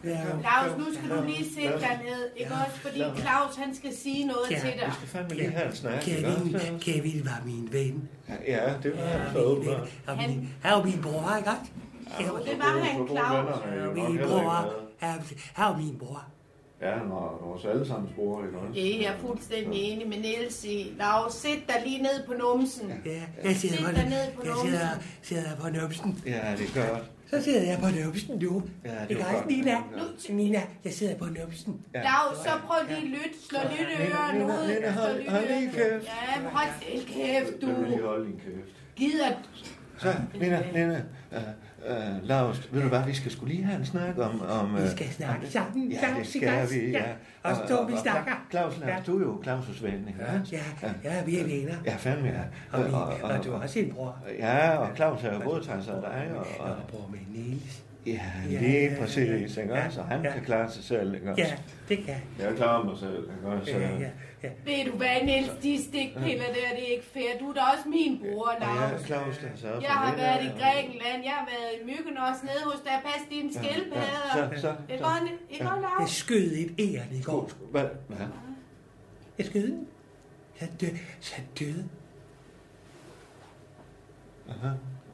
S6: hvad,
S8: Claus, nu skal du lige sætte dig ned, ikke også? Fordi Claus, han skal sige noget
S6: Ja,
S8: til dig.
S6: vi skal
S2: fandme lige have en snak, ikke
S6: Kevin, Kevin var min ven.
S2: Ja, det var han så åbenbart.
S6: Han, han var min bror, ikke også?
S8: Ja, det var han, Claus.
S6: Han var min bror. Han han var min bror.
S2: Ja, han var vores allesammens bror, ikke også?
S8: Det er jeg fuldstændig enig med Niels i. Lav, sæt dig lige ned på numsen.
S6: Ja, jeg sidder,
S8: Sæt
S6: på,
S8: dig ned på
S6: jeg sidder,
S8: numsen.
S6: sidder jeg på nøbsen.
S2: Ja, det er godt.
S6: Så sidder jeg på nøbsen nu.
S2: Ja, det
S6: Ikke
S2: er
S6: også,
S2: godt.
S6: Nina? Nina, jeg sidder på nøbsen.
S8: Lav, så prøv lige at lytte. Slå lytteøren
S6: Nina,
S8: ud.
S6: Nina,
S8: Slå
S6: hold- hold lige
S8: lytteøren. Ja, men hold selv kæft,
S2: Jeg vil
S8: du.
S2: lige holde din kæft.
S8: Gider
S2: Så, Nina, Nina, øh, øh, Lars, ved du hvad, vi skal skulle lige have en snak om... om
S6: Vi
S2: øh,
S6: skal snakke sammen.
S2: Ja, det skal vi, ja.
S6: Og så står vi snakker.
S2: Claus, Lars, du er jo Claus' ven, ikke?
S6: Ja, ja, ja, vi er venner.
S2: Ja, fandme ja.
S6: Og, vi, og du er også en bror.
S2: Ja, og Claus har jo både taget sig af dig og... og
S6: bror med Niels.
S2: Ja,
S6: Ja,
S2: lige
S6: ja,
S2: præcis, ikke også? Og han kan klare sig selv, ikke også?
S6: Ja, det kan.
S2: Jeg klarer mig selv, ikke også?
S6: Ja, ja, ja.
S8: Ved du hvad, Niels, de stikpiller der, det er ikke fair. Du er da også min bror,
S2: Og jeg
S8: Lars.
S2: er Claus, der sørger for
S8: Jeg har
S2: det,
S8: været i
S2: ikke?
S8: Grækenland, jeg har været i Myggen også nede hos dig. Pas dine
S2: Ja,
S8: skildpadder.
S2: ja, så- så-
S8: Ikke
S2: så-
S8: godt, ikke godt,
S6: Jeg
S8: Lars?
S6: skød et æren i går.
S2: Hvad? Hvad?
S6: Jeg skød den. Så han døde. Så han døde.
S2: Aha.
S8: Ah.